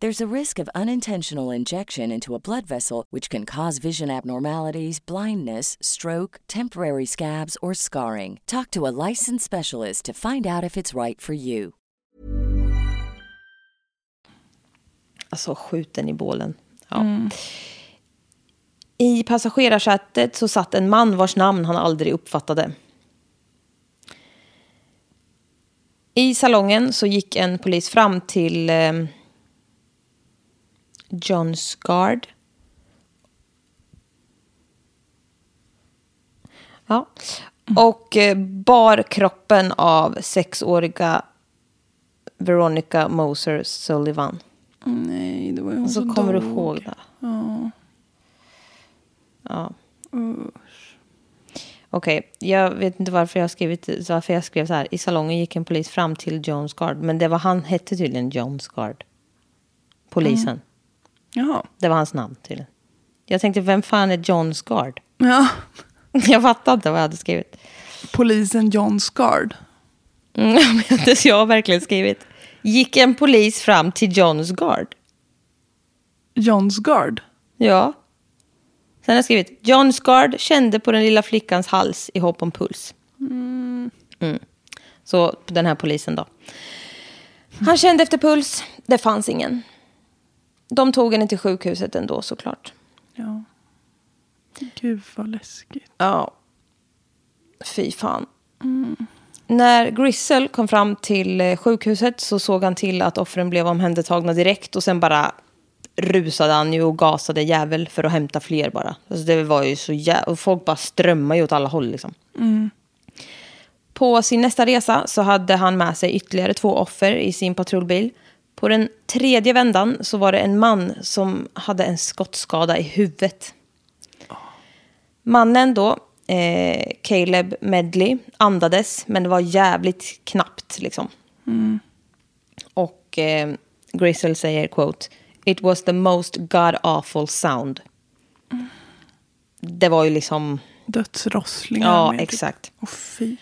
Speaker 5: There's a risk of unintentional injection into a blood vessel, which can cause vision abnormalities, blindness, stroke, temporary scabs, or scarring. Talk to a licensed specialist to find out if it's right for you.
Speaker 2: Alltså skjuten i bålen. Ja.
Speaker 3: Mm.
Speaker 2: I passagerarsätet så satt en man vars namn han aldrig uppfattade. I salongen så gick en polis fram till eh, John Skard. Ja. Och eh, bar kroppen av sexåriga Veronica Moser Sullivan.
Speaker 3: Nej, det var ju hon
Speaker 2: Och så
Speaker 3: som
Speaker 2: kommer
Speaker 3: Alltså dog.
Speaker 2: du ihåg det.
Speaker 3: Ja.
Speaker 2: Ja. Okej, jag vet inte varför jag, skrivit, varför jag skrev så här. I salongen gick en polis fram till John Skard. Men det var han hette tydligen John Skard. Polisen.
Speaker 3: Jaha.
Speaker 2: Det var hans namn tydligen. Jag tänkte, vem fan är John Skard?
Speaker 3: Ja.
Speaker 2: *laughs* Jag fattade inte vad jag hade skrivit.
Speaker 3: Polisen John Skard.
Speaker 2: Mm, *laughs* men det har jag verkligen skrivit. Gick en polis fram till John Skard?
Speaker 3: Johnsgard.
Speaker 2: Ja. Sen har jag skrivit, John Skard kände på den lilla flickans hals i hopp om puls. Mm. Så den här polisen då. Han kände efter puls, det fanns ingen. De tog henne till sjukhuset ändå såklart.
Speaker 3: Ja. Gud vad läskigt.
Speaker 2: Ja. Fy fan. Mm. När Grissel kom fram till eh, sjukhuset så såg han till att offren blev omhändertagna direkt och sen bara rusade han ju och gasade jävel för att hämta fler bara. Alltså det var ju så jä- och folk bara strömmade ju åt alla håll liksom. På sin nästa resa så hade han med sig ytterligare två offer i sin patrullbil. På den tredje vändan så var det en man som hade en skottskada i huvudet. Mannen då, eh, Caleb Medley, andades, men det var jävligt knappt liksom. Och eh, Grisel säger, quote, It was the most god-awful sound. Det var ju liksom...
Speaker 3: Dödsrosslingar.
Speaker 2: Ja,
Speaker 3: med typ.
Speaker 2: exakt.
Speaker 3: Åh fy.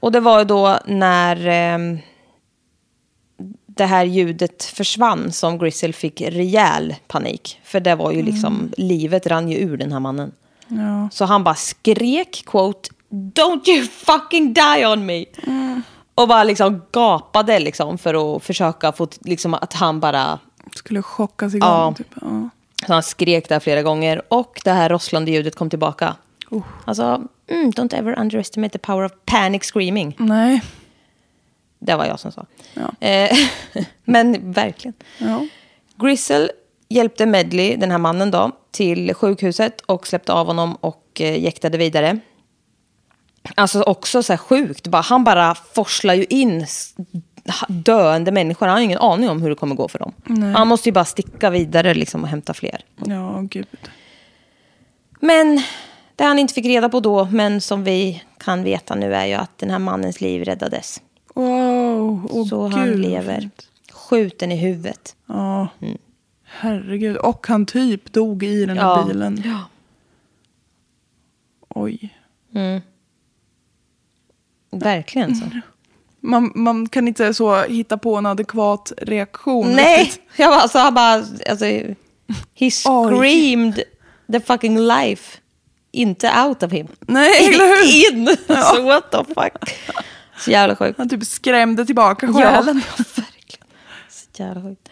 Speaker 2: Och det var ju då när ehm, det här ljudet försvann som Grisel fick rejäl panik. För det var ju liksom, livet rann ju ur den här mannen.
Speaker 3: Ja.
Speaker 2: Så han bara skrek, quote, don't you fucking die on me. Och bara liksom gapade liksom för att försöka få, t- liksom att han bara,
Speaker 3: Skulle chockas igång.
Speaker 2: Ja.
Speaker 3: Typ. Ja.
Speaker 2: så han skrek där flera gånger och det här rosslande ljudet kom tillbaka.
Speaker 3: Oh.
Speaker 2: Alltså, mm, don't ever underestimate the power of panic screaming.
Speaker 3: Nej.
Speaker 2: Det var jag som sa.
Speaker 3: Ja.
Speaker 2: Eh, *laughs* men verkligen.
Speaker 3: Ja.
Speaker 2: Grissel hjälpte Medley, den här mannen då, till sjukhuset och släppte av honom och eh, jäktade vidare. Alltså också så här sjukt, bara, han bara forslar ju in s- ha- döende människor. Han har ju ingen aning om hur det kommer gå för dem. Han måste ju bara sticka vidare liksom, och hämta fler.
Speaker 3: ja, gud.
Speaker 2: Men det han inte fick reda på då, men som vi kan veta nu, är ju att den här mannens liv räddades.
Speaker 3: Wow. Åh,
Speaker 2: så
Speaker 3: gud.
Speaker 2: han
Speaker 3: vad
Speaker 2: lever. Mm.
Speaker 3: fint.
Speaker 2: Skjuten i huvudet.
Speaker 3: Ja. Herregud. Och han typ dog i den här
Speaker 2: Ja.
Speaker 3: bilen. Oj.
Speaker 2: Verkligen så.
Speaker 3: Mm. Man, man kan inte så hitta på en adekvat reaktion.
Speaker 2: Nej,
Speaker 3: riktigt.
Speaker 2: *laughs* jag bara, alltså, han bara, alltså,
Speaker 3: *laughs*
Speaker 2: he screamed the fucking life. Inte out of him. *laughs*
Speaker 3: Nej, eller hur?
Speaker 2: In!
Speaker 3: *laughs*
Speaker 2: Alltså, what the fuck. Så jävla sjukt.
Speaker 3: Han typ skrämde tillbaka
Speaker 2: Ja,
Speaker 3: själen.
Speaker 2: verkligen. Så jävla sjukt.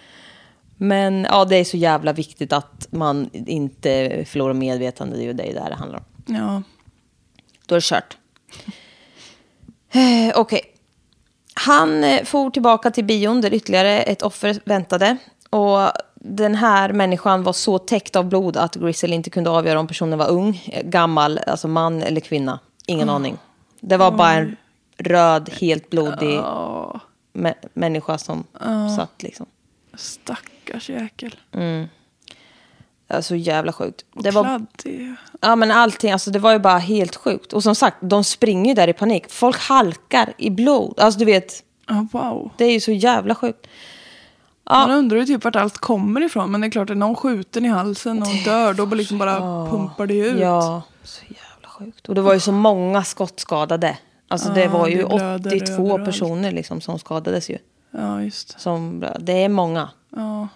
Speaker 2: Men ja, det är så jävla viktigt att man inte förlorar medvetande. Det är ju det det här det handlar om.
Speaker 3: Ja.
Speaker 2: Då är det kört. Eh, Okej. Han eh, for tillbaka till bion där ytterligare ett offer väntade. Och den här människan var så täckt av blod att Grisel inte kunde avgöra om personen var ung, eh, gammal, alltså man eller kvinna. Ingen aning. Det var bara en röd, helt blodig mä- människa som satt liksom.
Speaker 3: Stackars jäkel.
Speaker 2: Ja, Så jävla sjukt.
Speaker 3: Och
Speaker 2: Det var
Speaker 3: kladdig.
Speaker 2: Ja men allting, alltså det var ju bara helt sjukt. Och som sagt, de springer ju där i panik. Folk halkar i blod. Alltså du vet,
Speaker 3: Ja, wow.
Speaker 2: det är ju så jävla sjukt.
Speaker 3: Man undrar ju typ vart allt kommer ifrån. Men det är klart, att någon skjuten i halsen och dör, då bara liksom bara pumpar det ju ut.
Speaker 2: Ja, så jävla sjukt. Och det var ju så många skottskadade. Alltså det
Speaker 3: Ja,
Speaker 2: var ju
Speaker 3: det blöder
Speaker 2: 82
Speaker 3: överallt.
Speaker 2: personer liksom som skadades ju.
Speaker 3: ja just det.
Speaker 2: Som, det är många.
Speaker 3: Ja.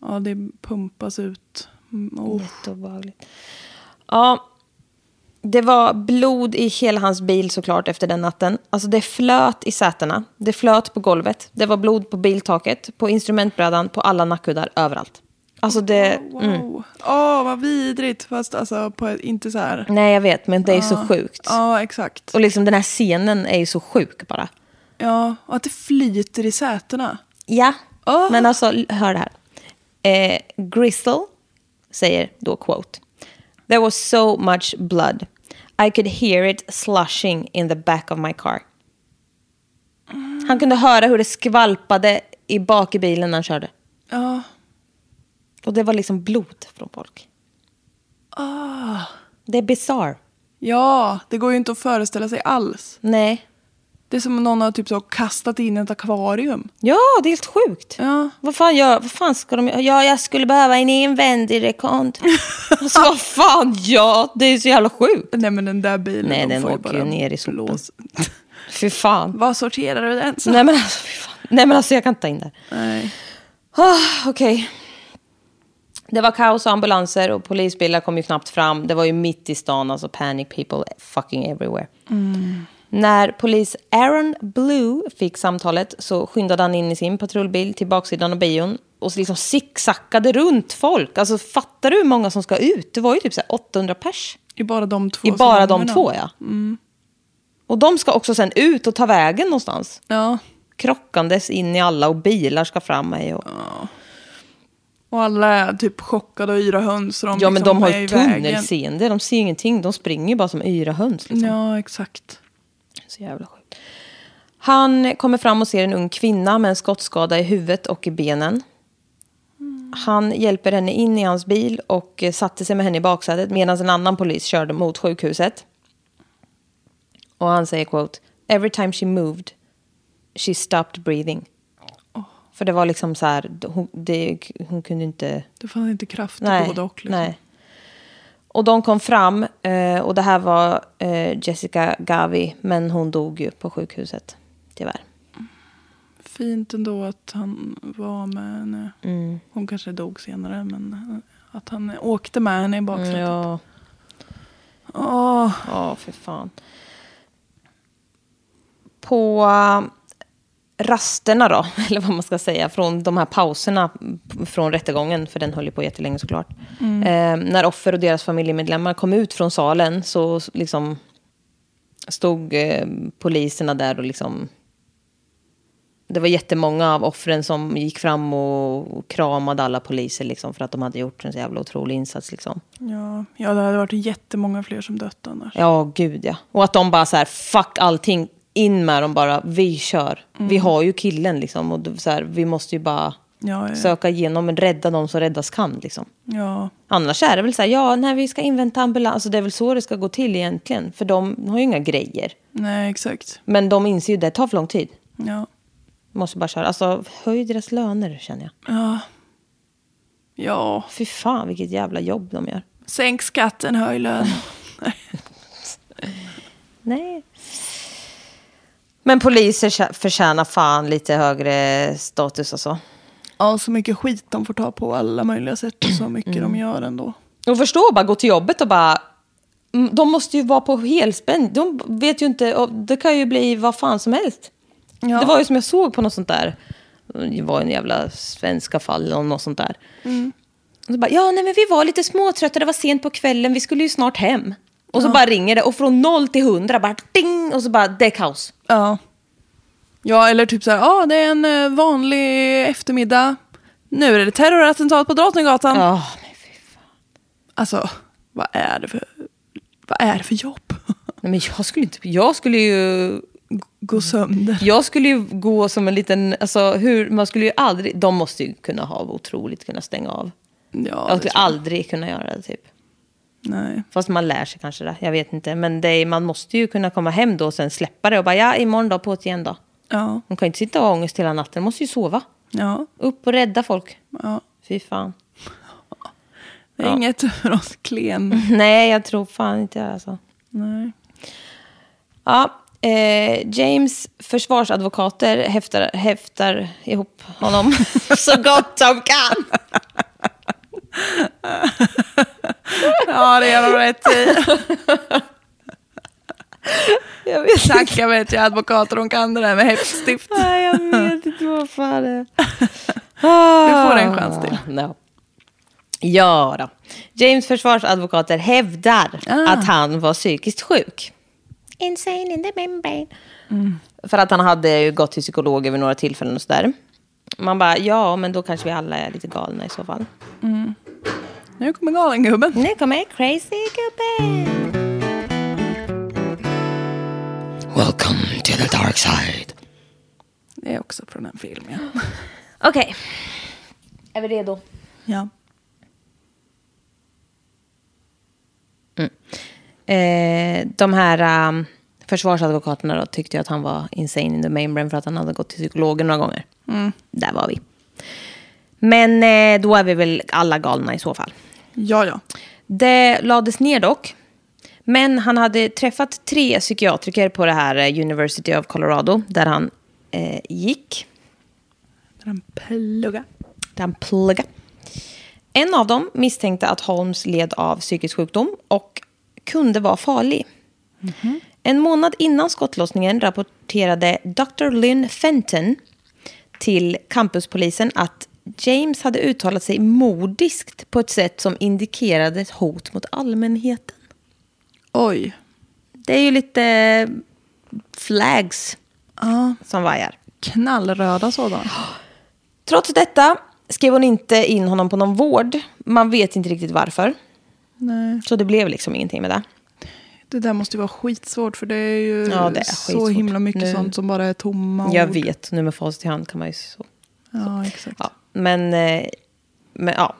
Speaker 3: ja, det pumpas ut. Mm, Oh.
Speaker 2: Jätteobehagligt. Ja, det var blod i hela hans bil såklart efter den natten. Alltså det flöt i sätena, det flöt på golvet, det var blod på biltaket, på instrumentbrädan, på alla nackkuddar, överallt. Alltså det...
Speaker 3: Wow.
Speaker 2: Mm.
Speaker 3: Åh, vad vidrigt. Fast alltså, på, ett- inte så här.
Speaker 2: Nej, jag vet, men Mm, det är ju så sjukt.
Speaker 3: Ja, exakt.
Speaker 2: Och liksom den här scenen är ju så sjuk bara.
Speaker 3: Ja, och att det flyter i sätena.
Speaker 2: Ja,
Speaker 3: Åh.
Speaker 2: men alltså l- hör det här. Eh, Gristle säger då quote. There was so much blood. I could hear it slushing in the back of my car. Han kunde höra hur det skvalpade i bak i bilen när han körde.
Speaker 3: Ja.
Speaker 2: Och det var liksom blod från folk.
Speaker 3: Ah.
Speaker 2: Det är bizarre.
Speaker 3: Ja, det går ju inte att föreställa sig alls.
Speaker 2: Nej.
Speaker 3: Det är som om någon har typ så kastat in ett akvarium.
Speaker 2: Ja, det är helt sjukt.
Speaker 3: Ja.
Speaker 2: Vad, fan gör, vad fan ska de göra? Ja, jag skulle behöva en invändig rekond. alltså, vad fan, ja, det är så jävla sjukt.
Speaker 3: Nej men den där bilen.
Speaker 2: Nej,
Speaker 3: de
Speaker 2: den
Speaker 3: får
Speaker 2: åker ju
Speaker 3: bara
Speaker 2: ner i sopen.
Speaker 3: blås.
Speaker 2: Fy fan.
Speaker 3: Vad sorterar du den?
Speaker 2: Nej men, alltså, fy fan. Nej men alltså jag kan inte ta in det.
Speaker 3: Nej.
Speaker 2: Ah, Okej. Det var kaos och ambulanser och polisbilar kom ju knappt fram. Det var ju mitt i stan, alltså panic people fucking everywhere. När polis Aaron Blue fick samtalet så skyndade han in i sin patrullbil till baksidan av bion och så liksom zigzackade runt folk. Alltså fattar du hur många som ska ut? Det var ju typ så här 800 pers.
Speaker 3: I bara de två
Speaker 2: I bara de
Speaker 3: salongerna.
Speaker 2: två, ja. Och de ska också sen ut och ta vägen någonstans.
Speaker 3: Ja.
Speaker 2: Krockandes in i alla och bilar ska fram mig. Och...
Speaker 3: Och alla är typ chockade och yra höns. och De
Speaker 2: Ja, men
Speaker 3: liksom
Speaker 2: de har
Speaker 3: är i
Speaker 2: ju
Speaker 3: vägen.
Speaker 2: tunnelseende. De ser ju ingenting. De springer ju bara som yra höns. Liksom.
Speaker 3: Ja, exakt.
Speaker 2: Så jävla sjukt. Han kommer fram och ser en ung kvinna med en skottskada i huvudet och i benen.
Speaker 3: Mm.
Speaker 2: Han hjälper henne in i hans bil och eh, satte sig med henne i baksätet medan en annan polis körde mot sjukhuset. Och han säger quote, every time she moved she stopped breathing. För det var liksom så här, hon, det, hon kunde inte...
Speaker 3: Det fanns inte kraft till
Speaker 2: Nej.
Speaker 3: både och. Liksom.
Speaker 2: nej. Och de kom fram eh, och det här var eh, Jessica Gavi, men hon dog ju på sjukhuset. Tyvärr.
Speaker 3: Fint ändå att han var med henne.
Speaker 2: Mm.
Speaker 3: Hon kanske dog senare, men eh, att han åkte med henne i baksätet.
Speaker 2: Mm, Ja,
Speaker 3: Åh,
Speaker 2: ja för fan. På eh, rasterna då, *laughs* eller vad man ska säga, från de här pauserna från rättegången, för den höll ju på jättelänge såklart. Eh, när offer och deras familjemedlemmar kom ut från salen så liksom stod eh, poliserna där och liksom det var jättemånga av offren som gick fram och kramade alla poliser liksom för att de hade gjort en så jävla otrolig insats. Liksom.
Speaker 3: ja. ja, det hade varit jättemånga fler som dött annars.
Speaker 2: Ja, gud ja. Och att de bara så här, fuck allting, in med dem bara, vi kör. Vi har ju killen liksom och så här, vi måste ju bara
Speaker 3: Ja, ja.
Speaker 2: söka igenom och rädda dem som räddas kan. Liksom.
Speaker 3: ja.
Speaker 2: Annars är det väl så här, ja, när vi ska invänta ambulans, alltså, det är väl så det ska gå till egentligen. För de har ju inga grejer.
Speaker 3: nej exakt.
Speaker 2: Men de inser ju det tar för lång tid.
Speaker 3: Ja.
Speaker 2: Måste bara köra. Alltså, höj deras löner känner jag.
Speaker 3: ja. Ja,
Speaker 2: Fy fan vilket jävla jobb de gör.
Speaker 3: sänk skatten,
Speaker 2: *laughs*
Speaker 3: höj lön.
Speaker 2: Nej. Men poliser tjä- förtjänar fan lite högre status alltså. och så.
Speaker 3: Ja, så mycket skit de får ta på alla möjliga sätt och så mycket de gör ändå.
Speaker 2: Och förstå bara gå till jobbet och bara... Mm, De måste ju vara på helspänn. De vet ju inte... och Det kan ju bli vad fan som helst. Det var ju som jag såg på något sånt där. Det var en jävla svenska fall eller något sånt där. Och så bara, ja, nej, men vi var lite småtrötta, det var sent på kvällen, vi skulle ju snart hem. Och så bara ringer det och från noll till hundra bara ding och så bara det är kaos.
Speaker 3: Ja. Ja, eller typ så här, ja, det är en eh, vanlig eftermiddag. Nu är det terrorattentat på Drottninggatan.
Speaker 2: Ja, men fy fan.
Speaker 3: Alltså, vad är det för, vad är det för jobb? *laughs*
Speaker 2: Nej, men jag skulle inte, jag skulle ju
Speaker 3: Gå sönder.
Speaker 2: Jag skulle ju gå som en liten... Alltså, hur, man skulle ju aldrig... De måste ju kunna ha otroligt kunna stänga av.
Speaker 3: Ja,
Speaker 2: jag
Speaker 3: det
Speaker 2: skulle
Speaker 3: tror
Speaker 2: aldrig kunna göra det, typ.
Speaker 3: Nej.
Speaker 2: Fast man lär sig kanske det. Jag vet inte. Men det är, man måste ju kunna komma hem då och sen släppa det och bara ja, imorgon då, på ett igen då.
Speaker 3: Ja,
Speaker 2: Hon kan ju inte sitta och ha ångest hela natten. Hon måste ju sova.
Speaker 3: ja,
Speaker 2: Upp och rädda folk.
Speaker 3: ja.
Speaker 2: Fy fan. *laughs*
Speaker 3: Det är inget för oss klen.
Speaker 2: Nej, jag tror fan inte det alltså.
Speaker 3: Nej.
Speaker 2: Ja, eh, James försvarsadvokater häftar, häftar ihop honom *laughs* så gott de kan.
Speaker 3: *laughs* Ja, det gör de rätt i.
Speaker 2: Jag vet
Speaker 3: Tacka vet jag advokater, hon kan det där med häftstift.
Speaker 2: Nej, *laughs* jag vet inte vad fan det är.
Speaker 3: får en chans till.
Speaker 2: Ah, no. Ja då. James försvarsadvokater hävdar att han var psykiskt sjuk. Insane in the membrane. För att han hade ju gått till psykolog över några tillfällen och sådär. Man bara, ja, men då kanske vi alla är lite galna i så fall.
Speaker 3: Nu kommer galengubben.
Speaker 2: Nu kommer crazy gubbe!
Speaker 6: Welcome to the dark side.
Speaker 3: Det är också från en film, ja.
Speaker 2: Okej. Är vi redo?
Speaker 3: ja.
Speaker 2: Eh, de här um, försvarsadvokaterna då, tyckte ju att han var insane in the mainbrain för att han hade gått till psykologen några gånger.
Speaker 3: Mm.
Speaker 2: Där var vi. Men eh, då är vi väl alla galna i så fall.
Speaker 3: Ja, ja.
Speaker 2: Det lades ner dock. Men han hade träffat tre psykiatriker på det här eh, University of Colorado där han eh, gick.
Speaker 3: Den plugga.
Speaker 2: Där han pluggade. En av dem misstänkte att Holmes led av psykisk sjukdom och kunde vara farlig. En månad innan skottlossningen rapporterade Dr. Lynn Fenton till campuspolisen att James hade uttalat sig modiskt på ett sätt som indikerade ett hot mot allmänheten.
Speaker 3: Oj.
Speaker 2: Det är ju lite eh, flags
Speaker 3: Ja,
Speaker 2: som vajar.
Speaker 3: knallröda sådana.
Speaker 2: Trots detta skrev hon inte in honom på någon vård. Man vet inte riktigt varför.
Speaker 3: Nej.
Speaker 2: Så det blev liksom ingenting med det.
Speaker 3: Det där måste ju vara skitsvårt för det är ju
Speaker 2: Ja, det är
Speaker 3: så
Speaker 2: skitsvårt.
Speaker 3: himla mycket
Speaker 2: Nu-
Speaker 3: sånt som bara är tomma ord.
Speaker 2: Jag vet, nu med facit i hand kan man ju så.
Speaker 3: Ja, exakt.
Speaker 2: Ja, men, eh, men ja.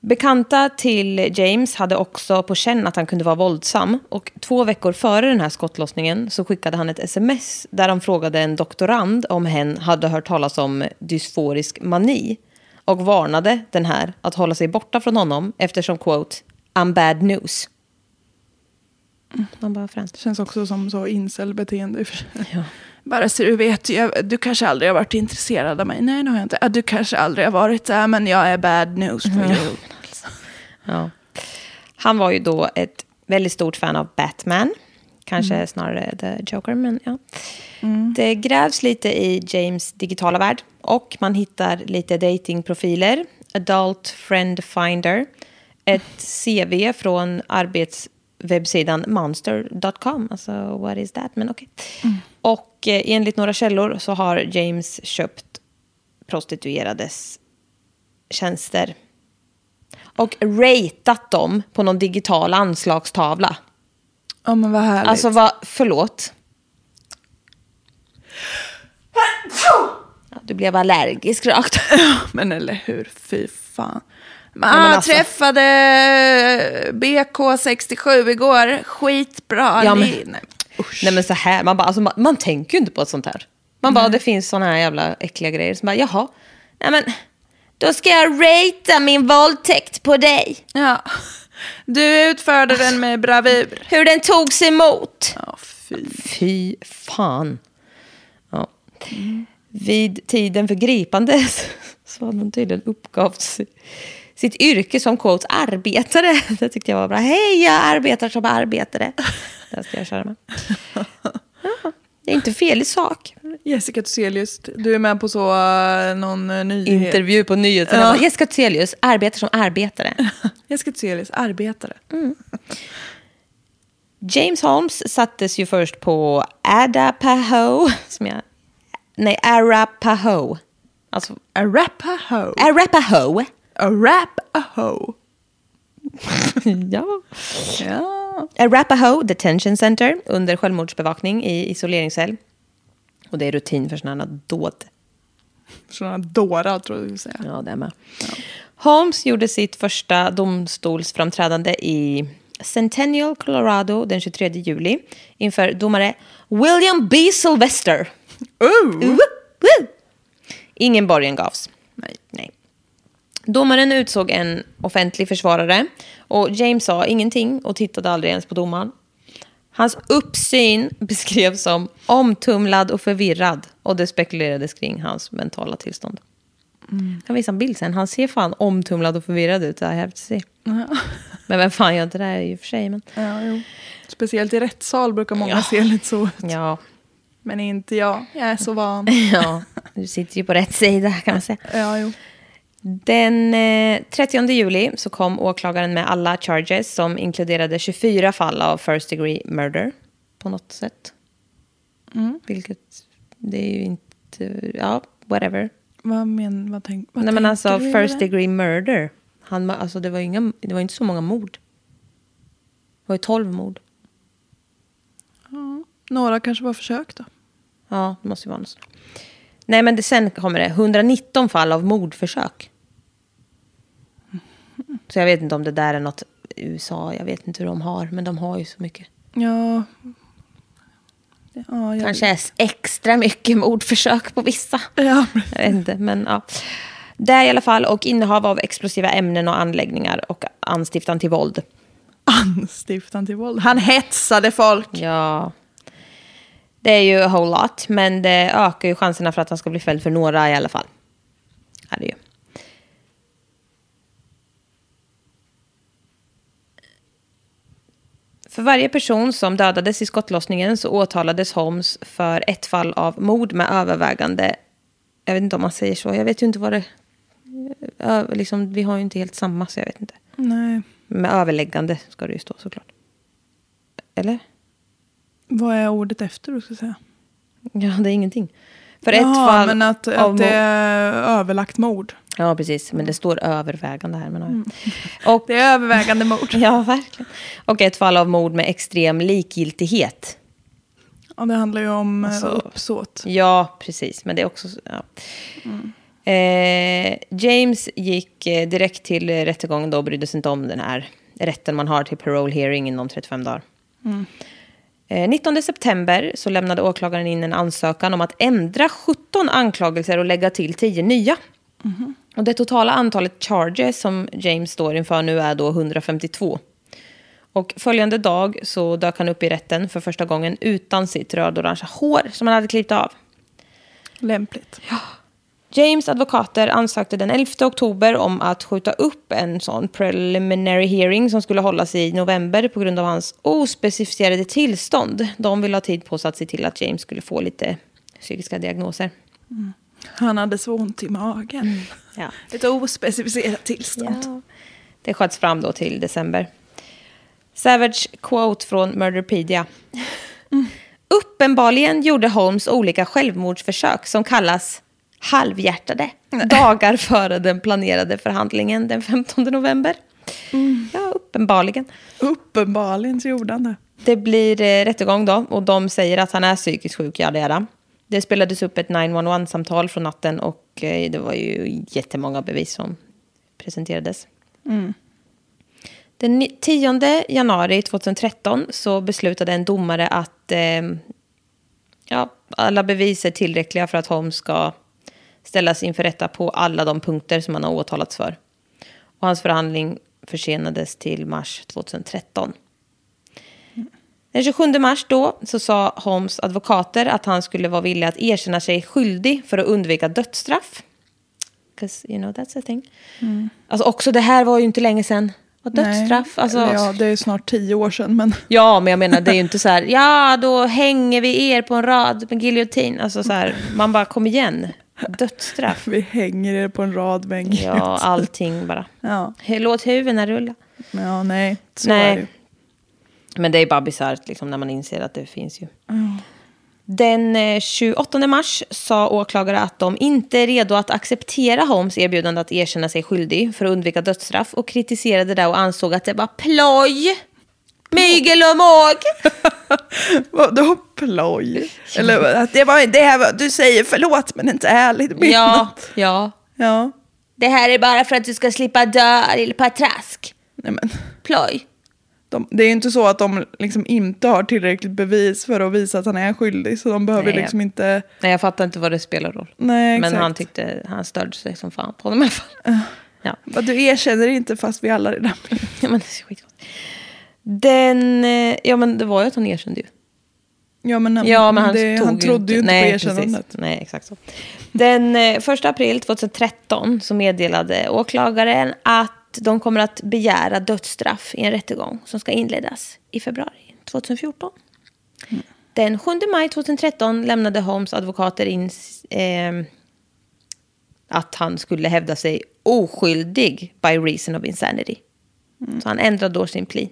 Speaker 2: Bekanta till James hade också på känn att han kunde vara våldsam. Och två veckor före den här skottlossningen så skickade han ett sms där han frågade en doktorand om hen hade hört talas om dysforisk mani. Och varnade den här att hålla sig borta från honom eftersom quote, I'm bad news. Man bara fränt.
Speaker 3: Det känns också som så incelbeteende. i och för sig.
Speaker 2: Ja.
Speaker 3: Bara så du vet, jag, du kanske aldrig har varit intresserad av mig. Nej, det har jag inte. Ja, Du kanske aldrig har varit där, men jag är bad news
Speaker 2: Mm.
Speaker 3: for you.
Speaker 2: Ja. Han var ju då ett väldigt stort fan av Batman. Kanske snarare The Joker, men ja. Det grävs lite i James digitala värld. Och man hittar lite datingprofiler, Adult Friend Finder, ett CV från arbetswebbsidan monster.com. Alltså, what is that? Men okej. Och eh, enligt några källor så har James köpt prostituerades tjänster och ratat dem på någon digital anslagstavla.
Speaker 3: Ja, men vad härligt.
Speaker 2: Alltså vad, förlåt. Ja, Du blev allergisk rakt.
Speaker 3: *laughs* Men eller hur, fy fan. Ah, Man
Speaker 2: men alltså-
Speaker 3: träffade BK67 igår, skitbra.
Speaker 2: Ja, men-
Speaker 3: Li- Nej. Usch.
Speaker 2: *laughs* Nej men så här, man, bara, alltså, man, man tänker ju inte på ett sånt här. Man bara, det finns såna här jävla äckliga grejer. Så bara, jaha. Nej men, då ska jag ratea min våldtäkt på dig.
Speaker 3: Ja. Du utförde den med bravur.
Speaker 2: Hur den togs emot.
Speaker 3: Ja, fy.
Speaker 2: Fy fan. Ja. Vid tiden för gripandes *laughs* så hade hon tydligen uppgavt si- sitt yrke som quotes arbetare. *laughs* Det tyckte jag var bra. Hej, jag arbetar som arbetare. Det här ska jag köra med. Ja, det är inte fel i sak.
Speaker 3: *laughs* Jessica Thyselius, du är med på så eh, någon eh, nyhet.
Speaker 2: Intervju på nyheterna.
Speaker 3: Ja.
Speaker 2: Jag bara, Jessica Thyselius arbetar som arbetare.
Speaker 3: *laughs* Jessica Thyselius, arbetare.
Speaker 2: James Holmes sattes ju först på Arapaho. *laughs* Som jag, nej, Arapaho. Alltså,
Speaker 3: Arapaho.
Speaker 2: Arapaho.
Speaker 3: Arapaho.
Speaker 2: Ja.
Speaker 3: Ja.
Speaker 2: Arapaho Detention Center under självmordsbevakning i isoleringscell. Och det är rutin för sådana här dåd.
Speaker 3: Sådana dårar tror jag du skulle säga.
Speaker 2: Ja, det är med. Holmes gjorde sitt första domstolsframträdande i Centennial, Colorado den 23 juli inför domare William B. Sylvester.
Speaker 3: Ooh.
Speaker 2: Woop, woop. Ingen borgen gavs.
Speaker 3: Nej.
Speaker 2: Nej. Domaren utsåg en offentlig försvarare och James sa ingenting och tittade aldrig ens på domaren. Hans uppsyn *laughs* beskrevs som omtumlad och förvirrad och det spekulerades kring hans mentala tillstånd. Jag kan visa en bild sen. Han ser fan omtumlad och förvirrad ut. I have to see. Men vem fan gör inte det här i och för sig? Men...
Speaker 3: Ja, jo. Speciellt i rättssal brukar många se lite så ut.
Speaker 2: Ja,
Speaker 3: Men inte jag. Jag är så *laughs* van.
Speaker 2: ja, du sitter ju på rätt sida kan man säga.
Speaker 3: Ja, jo.
Speaker 2: Den eh, 30 juli så kom åklagaren med alla charges som inkluderade 24 fall av first degree murder på något sätt.
Speaker 3: Mm.
Speaker 2: Vilket, det är ju inte, ja, whatever.
Speaker 3: Vad men, vad tänk, vad
Speaker 2: Nej men
Speaker 3: tänker
Speaker 2: alltså
Speaker 3: du med
Speaker 2: first
Speaker 3: det?
Speaker 2: degree murder. Han, ma- alltså det var ju inga, det var inte så många mord. Det var ju 12 mord.
Speaker 3: Några kanske var försök då.
Speaker 2: Ja, det måste ju vara något sånt. Nej men det, sen kommer det 119 fall av mordförsök. Så jag vet inte om det där är något USA, jag vet inte hur de har, men de har ju så mycket.
Speaker 3: Ja. ja jag
Speaker 2: Kanske är s- extra mycket mordförsök på vissa.
Speaker 3: Ja.
Speaker 2: Jag vet inte, men ja. Det är i alla fall, och innehav av explosiva ämnen och anläggningar och anstiftan till våld.
Speaker 3: Anstiftan till våld. Han hetsade folk.
Speaker 2: Ja. Det är ju a whole lot, men det ökar ju chanserna för att han ska bli fälld för några i alla fall. Är det ju. För varje person som dödades i skottlossningen så åtalades Holmes för ett fall av mord med övervägande. Jag vet inte om man säger så. Jag vet ju inte vad det... ö- Liksom, vi har ju inte helt samma, så jag vet inte.
Speaker 3: Nej.
Speaker 2: Med överläggande ska det ju stå såklart. Eller?
Speaker 3: Vad är ordet efter du ska säga?
Speaker 2: Ja, det är ingenting. För ett
Speaker 3: Jaha,
Speaker 2: fall
Speaker 3: men att,
Speaker 2: av
Speaker 3: att det är överlagt mord.
Speaker 2: Ja, precis. Men det står övervägande här. Men, och,
Speaker 3: Mm. Det är övervägande mord.
Speaker 2: *laughs* Ja, verkligen. Och ett fall av mord med extrem likgiltighet.
Speaker 3: Ja, det handlar ju om eh,
Speaker 2: Alltså-
Speaker 3: uppsåt.
Speaker 2: Ja, precis. Men det är också... Ja.
Speaker 3: Mm.
Speaker 2: Eh, James gick eh, direkt till eh, rättegången då och brydde sig inte om den här rätten man har till parole hearing inom 35 dagar.
Speaker 3: Mm.
Speaker 2: Eh, 19 september så lämnade åklagaren in en ansökan om att ändra 17 anklagelser och lägga till 10 nya. Och det totala antalet charges som James står inför nu är då 152. Och följande dag så dök han upp i rätten för första gången utan sitt röd-orangea hår som han hade klippt av.
Speaker 3: Lämpligt.
Speaker 2: James advokater ansökte den 11 oktober om att skjuta upp en sån preliminary hearing som skulle hållas i november på grund av hans ospecificerade tillstånd. De ville ha tid på sig att se till att James skulle få lite psykiska diagnoser.
Speaker 3: Han hade så ont i magen.
Speaker 2: Mm. Ja.
Speaker 3: Ett ospecificerat tillstånd.
Speaker 2: Ja. Det sköts fram då till december. Savage quote från Murderpedia. Uppenbarligen gjorde Holmes olika självmordsförsök som kallas halvhjärtade dagar före den planerade förhandlingen den 15 november. Ja, uppenbarligen.
Speaker 3: Uppenbarligen så gjorde han det.
Speaker 2: Det blir eh, rättegång då och de säger att han är psykiskt sjuk, ja det är han. Det spelades upp ett 911-samtal från natten och eh, det var ju jättemånga bevis som presenterades. Den ni- 10 januari 2013 så beslutade en domare att eh, ja, alla bevis är tillräckliga för att Holmes ska ställas inför rätta på alla de punkter som han har åtalats för. Och hans förhandling försenades till mars 2013. Den 27 mars då så sa Holmes advokater att han skulle vara villig att erkänna sig skyldig för att undvika dödsstraff. 'Cause you know that's a thing. Alltså också det här var ju inte länge sedan. Och dödsstraff,
Speaker 3: Mm. Nej.
Speaker 2: alltså...
Speaker 3: Eller Ja, det är snart tio år sedan, men
Speaker 2: Ja, men jag menar det är ju inte så här, ja då hänger vi er på en rad med giljotin. Alltså så här, man bara kom igen. Dödsstraff.
Speaker 3: *laughs* vi hänger er på en rad vägg.
Speaker 2: Ja, allting bara.
Speaker 3: Ja,
Speaker 2: Låt huvudena rulla.
Speaker 3: men ja nej. Så
Speaker 2: Nej.
Speaker 3: Är det. ju. *laughs*
Speaker 2: Men det är bara bisarrt liksom, när man inser att det finns ju. Den eh, 28 mars sa åklagare att de inte är redo att acceptera Holmes erbjudande att erkänna sig skyldig för att undvika dödsstraff och kritiserade det och ansåg att det var ploj, mygel och *laughs* måg.
Speaker 3: Vadå ploj? Eller
Speaker 2: *laughs*
Speaker 3: att det, var, det här var, du säger förlåt men inte ärligt menat.
Speaker 2: Ja, ja.
Speaker 3: ja.
Speaker 2: Det här är bara för att du ska slippa dö, lille patrask.
Speaker 3: Nej, men,
Speaker 2: Ploj.
Speaker 3: de, det är ju inte så att de liksom inte har tillräckligt bevis för att visa att han är skyldig. Så de behöver
Speaker 2: Nej.
Speaker 3: liksom inte...
Speaker 2: Nej, jag fattar inte vad det spelar roll.
Speaker 3: Nej,
Speaker 2: Men
Speaker 3: exakt.
Speaker 2: han tyckte, han störde sig som fan på honom i alla fall. Ja. *laughs*
Speaker 3: Vad, Du erkänner inte fast vi alla redan
Speaker 2: ja, men det är skitgott. Den, eh, ja men det var ju att han erkände ju.
Speaker 3: *laughs* Ja men,
Speaker 2: Ja, men han,
Speaker 3: det,
Speaker 2: tog
Speaker 3: han trodde ju inte
Speaker 2: nej,
Speaker 3: på erkännandet.
Speaker 2: Precis. Nej, exakt så. Den eh, 1 april 2013 så meddelade åklagaren att de kommer att begära dödsstraff i en rättegång som ska inledas i februari 2014.
Speaker 3: Mm.
Speaker 2: Den 7 maj 2013 lämnade Holmes advokater in s- ehm, att han skulle hävda sig oskyldig by reason of insanity.
Speaker 3: Mm.
Speaker 2: Så han ändrade då sin plea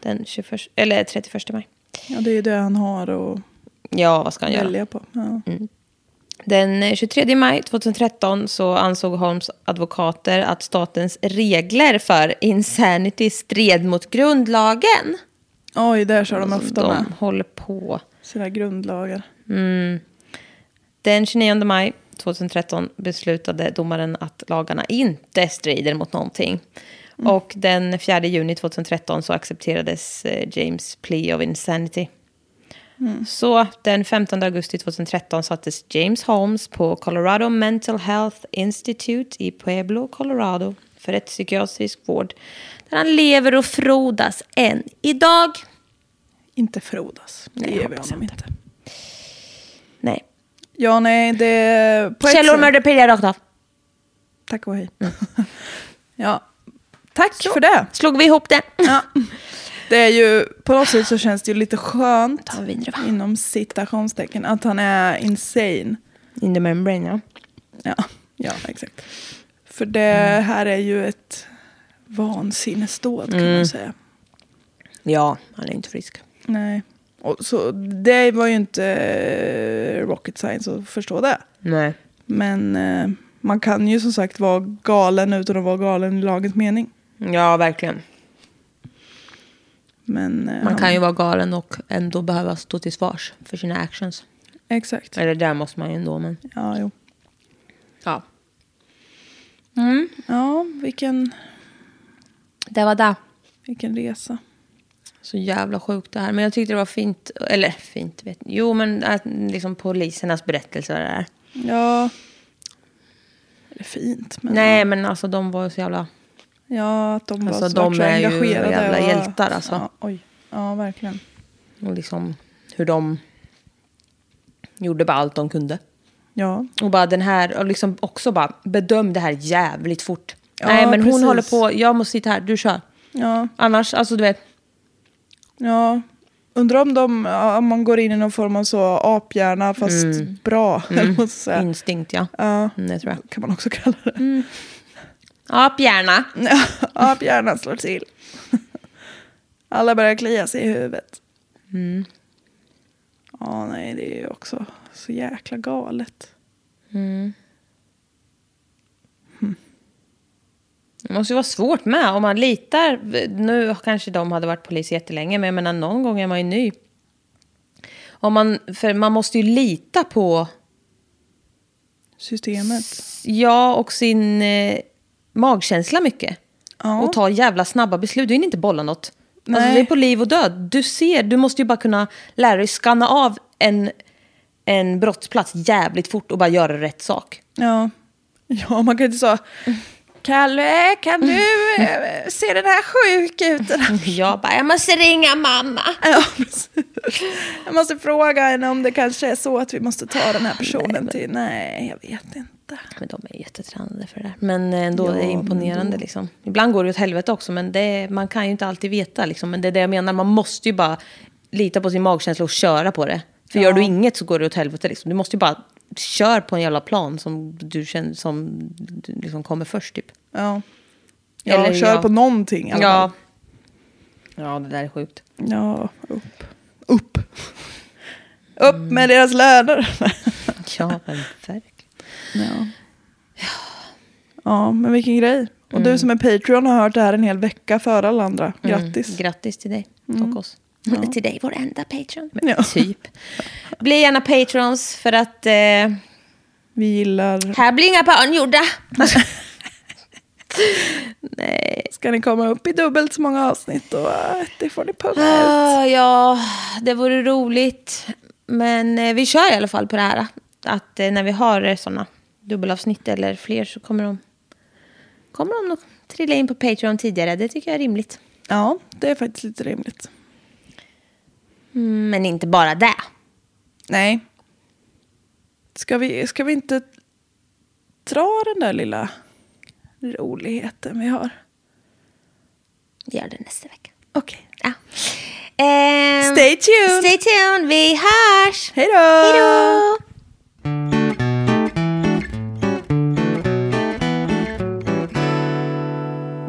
Speaker 2: den 21, eller 31 maj.
Speaker 3: Ja, det är ju det han har att
Speaker 2: Ja, vad ska han göra?
Speaker 3: välja på. Ja.
Speaker 2: Den eh, 23 maj 2013 så ansåg Holmes advokater att statens regler för insanity stred mot grundlagen.
Speaker 3: Oj, där kör de ofta
Speaker 2: Alltså, De
Speaker 3: med
Speaker 2: håller på.
Speaker 3: sina grundlagar.
Speaker 2: Den 29 maj 2013 beslutade domaren att lagarna inte strider mot någonting. Och den 4 juni 2013 så accepterades eh, James plea of insanity. Så den 15 augusti 2013 sattes James Holmes på Colorado Mental Health Institute i Pueblo, Colorado för ett psykiatrisk vård där han lever och frodas än idag.
Speaker 3: Inte frodas. Det
Speaker 2: Nej,
Speaker 3: ger vi
Speaker 2: hoppas
Speaker 3: honom inte.
Speaker 2: Nej.
Speaker 3: Ja, nej, det... på ett
Speaker 2: Källor Mm.
Speaker 3: sätt-
Speaker 2: Murderpedia rakt av.
Speaker 3: Tack *laughs* och hej. ja. Tack för det.
Speaker 2: Slog vi ihop det?
Speaker 3: Ja. Det är ju, på något sätt så känns det ju lite skönt,
Speaker 2: Ta en vinröva.
Speaker 3: inom citationstecken, att han är insane.
Speaker 2: In the membrane, ja.
Speaker 3: Ja, ja exakt. För det
Speaker 2: Mm.
Speaker 3: här är ju ett vansinnesdåd kan
Speaker 2: Mm.
Speaker 3: man säga.
Speaker 2: Ja, han är inte frisk.
Speaker 3: Nej. Och så det var ju inte eh, rocket science att förstå det.
Speaker 2: Nej.
Speaker 3: Men eh, man kan ju som sagt vara galen utan att vara galen i lagens mening.
Speaker 2: Ja, verkligen.
Speaker 3: Men, eh,
Speaker 2: Man
Speaker 3: han-
Speaker 2: kan ju vara galen och ändå behöva stå till svars för sina actions.
Speaker 3: Exakt.
Speaker 2: Eller där måste man ju ändå, men...
Speaker 3: Ja, jo.
Speaker 2: Ja.
Speaker 3: ja vilken,
Speaker 2: Det var det.
Speaker 3: vilken resa.
Speaker 2: Så jävla sjukt det här. Men jag tyckte det var fint. Eller fint, vet Jo, men att, liksom polisernas berättelser där.
Speaker 3: Ja. Det är fint. Men
Speaker 2: Nej, men alltså de var så jävla...
Speaker 3: Ja, att de
Speaker 2: Alltså,
Speaker 3: var så,
Speaker 2: de
Speaker 3: vart så
Speaker 2: är ju
Speaker 3: engagerade.
Speaker 2: jävla
Speaker 3: och-
Speaker 2: hjältar, alltså.
Speaker 3: Ja, oj. Ja, verkligen.
Speaker 2: Och liksom hur de gjorde bara allt de kunde.
Speaker 3: Ja,
Speaker 2: Och bara den här, och liksom också bara bedöm det här jävligt fort.
Speaker 3: Ja,
Speaker 2: Nej, men
Speaker 3: precis.
Speaker 2: hon håller på. Jag måste sitta här, du kör.
Speaker 3: ja,
Speaker 2: Annars, alltså du vet.
Speaker 3: ja. Undrar om, de, ja, om man går in i någon form av så aphjärna fast
Speaker 2: Mm.
Speaker 3: bra. *laughs* eller vad man ska säga.
Speaker 2: Instinkt, ja.
Speaker 3: Ja,
Speaker 2: Mm, det tror jag.
Speaker 3: kan man också kalla det.
Speaker 2: Aphjärna.
Speaker 3: Aphjärnan slår till. Alla börjar klia sig i huvudet.
Speaker 2: Mm.
Speaker 3: Ja, nej, det är ju också så jäkla galet.
Speaker 2: Det måste ju vara svårt med om man litar. Nu kanske de hade varit polis jättelänge, men jag menar någon gång är man ju ny. Om man, för man måste ju lita på,
Speaker 3: Systemet.
Speaker 2: ja och sin eh, magkänsla mycket.
Speaker 3: Ja.
Speaker 2: Och ta jävla snabba beslut. Du hinner inte bolla något. Alltså
Speaker 3: Nej.
Speaker 2: det är på liv och död. Du ser, du måste ju bara kunna lära dig skanna av en, en brottsplats jävligt fort och bara göra rätt sak.
Speaker 3: Ja. ja, man kan inte säga Kalle, kan du eh, se den här sjuk
Speaker 2: *laughs*
Speaker 3: ut?
Speaker 2: Jag bara, jag måste ringa mamma.
Speaker 3: ja, precis. Jag måste fråga henne om det kanske är så att vi måste ta den här personen till... Nej, jag vet inte.
Speaker 2: Men de är jättetränade för det där. Men eh, ändå, det är imponerande. Liksom. Ibland går det åt helvete också, men det är, man kan ju inte alltid veta. Liksom. Men det är det jag menar, man måste ju bara lita på sin magkänsla och köra på det. För gör du inget så går det åt helvete. Liksom. Du måste ju bara köra på en jävla plan som du känner som du liksom kommer först. Typ.
Speaker 3: Ja, ja
Speaker 2: Eller
Speaker 3: kör
Speaker 2: ja.
Speaker 3: på någonting i alla fall.
Speaker 2: Ja. ja, det där är sjukt.
Speaker 3: Ja, upp. Upp. Mm. Upp med deras löner. *laughs*
Speaker 2: Ja, men verkligen.
Speaker 3: Ja. ja, men vilken grej. Och du som är Patreon har hört det här en hel vecka före alla andra. Grattis.
Speaker 2: Grattis till dig och oss. Till dig, vår enda Patreon. Men,
Speaker 3: Ja.
Speaker 2: Typ. Bli gärna Patrons för att... Eh,
Speaker 3: Vi gillar...
Speaker 2: Här blir inga barn gjorda.
Speaker 3: Ska ni komma upp i dubbelt så många avsnitt och äh, det får ni punga *gasps* ut.
Speaker 2: Ah, ja, det vore roligt. Men eh, vi kör i alla fall på det här. Att eh, när vi har eh, sådana dubbelavsnitt eller fler så kommer de, kommer de nog trilla in på Patreon tidigare. Det tycker jag är rimligt.
Speaker 3: Ja, det är faktiskt lite rimligt.
Speaker 2: Mm, men inte bara det.
Speaker 3: Nej. Ska vi, ska vi inte dra den där lilla roligheten vi har?
Speaker 2: Vi gör det nästa vecka.
Speaker 3: Okej.
Speaker 2: Ja. Ehm,
Speaker 3: Stay tuned.
Speaker 2: Stay tuned. Vi hörs.
Speaker 3: Hej då!
Speaker 2: Hej då!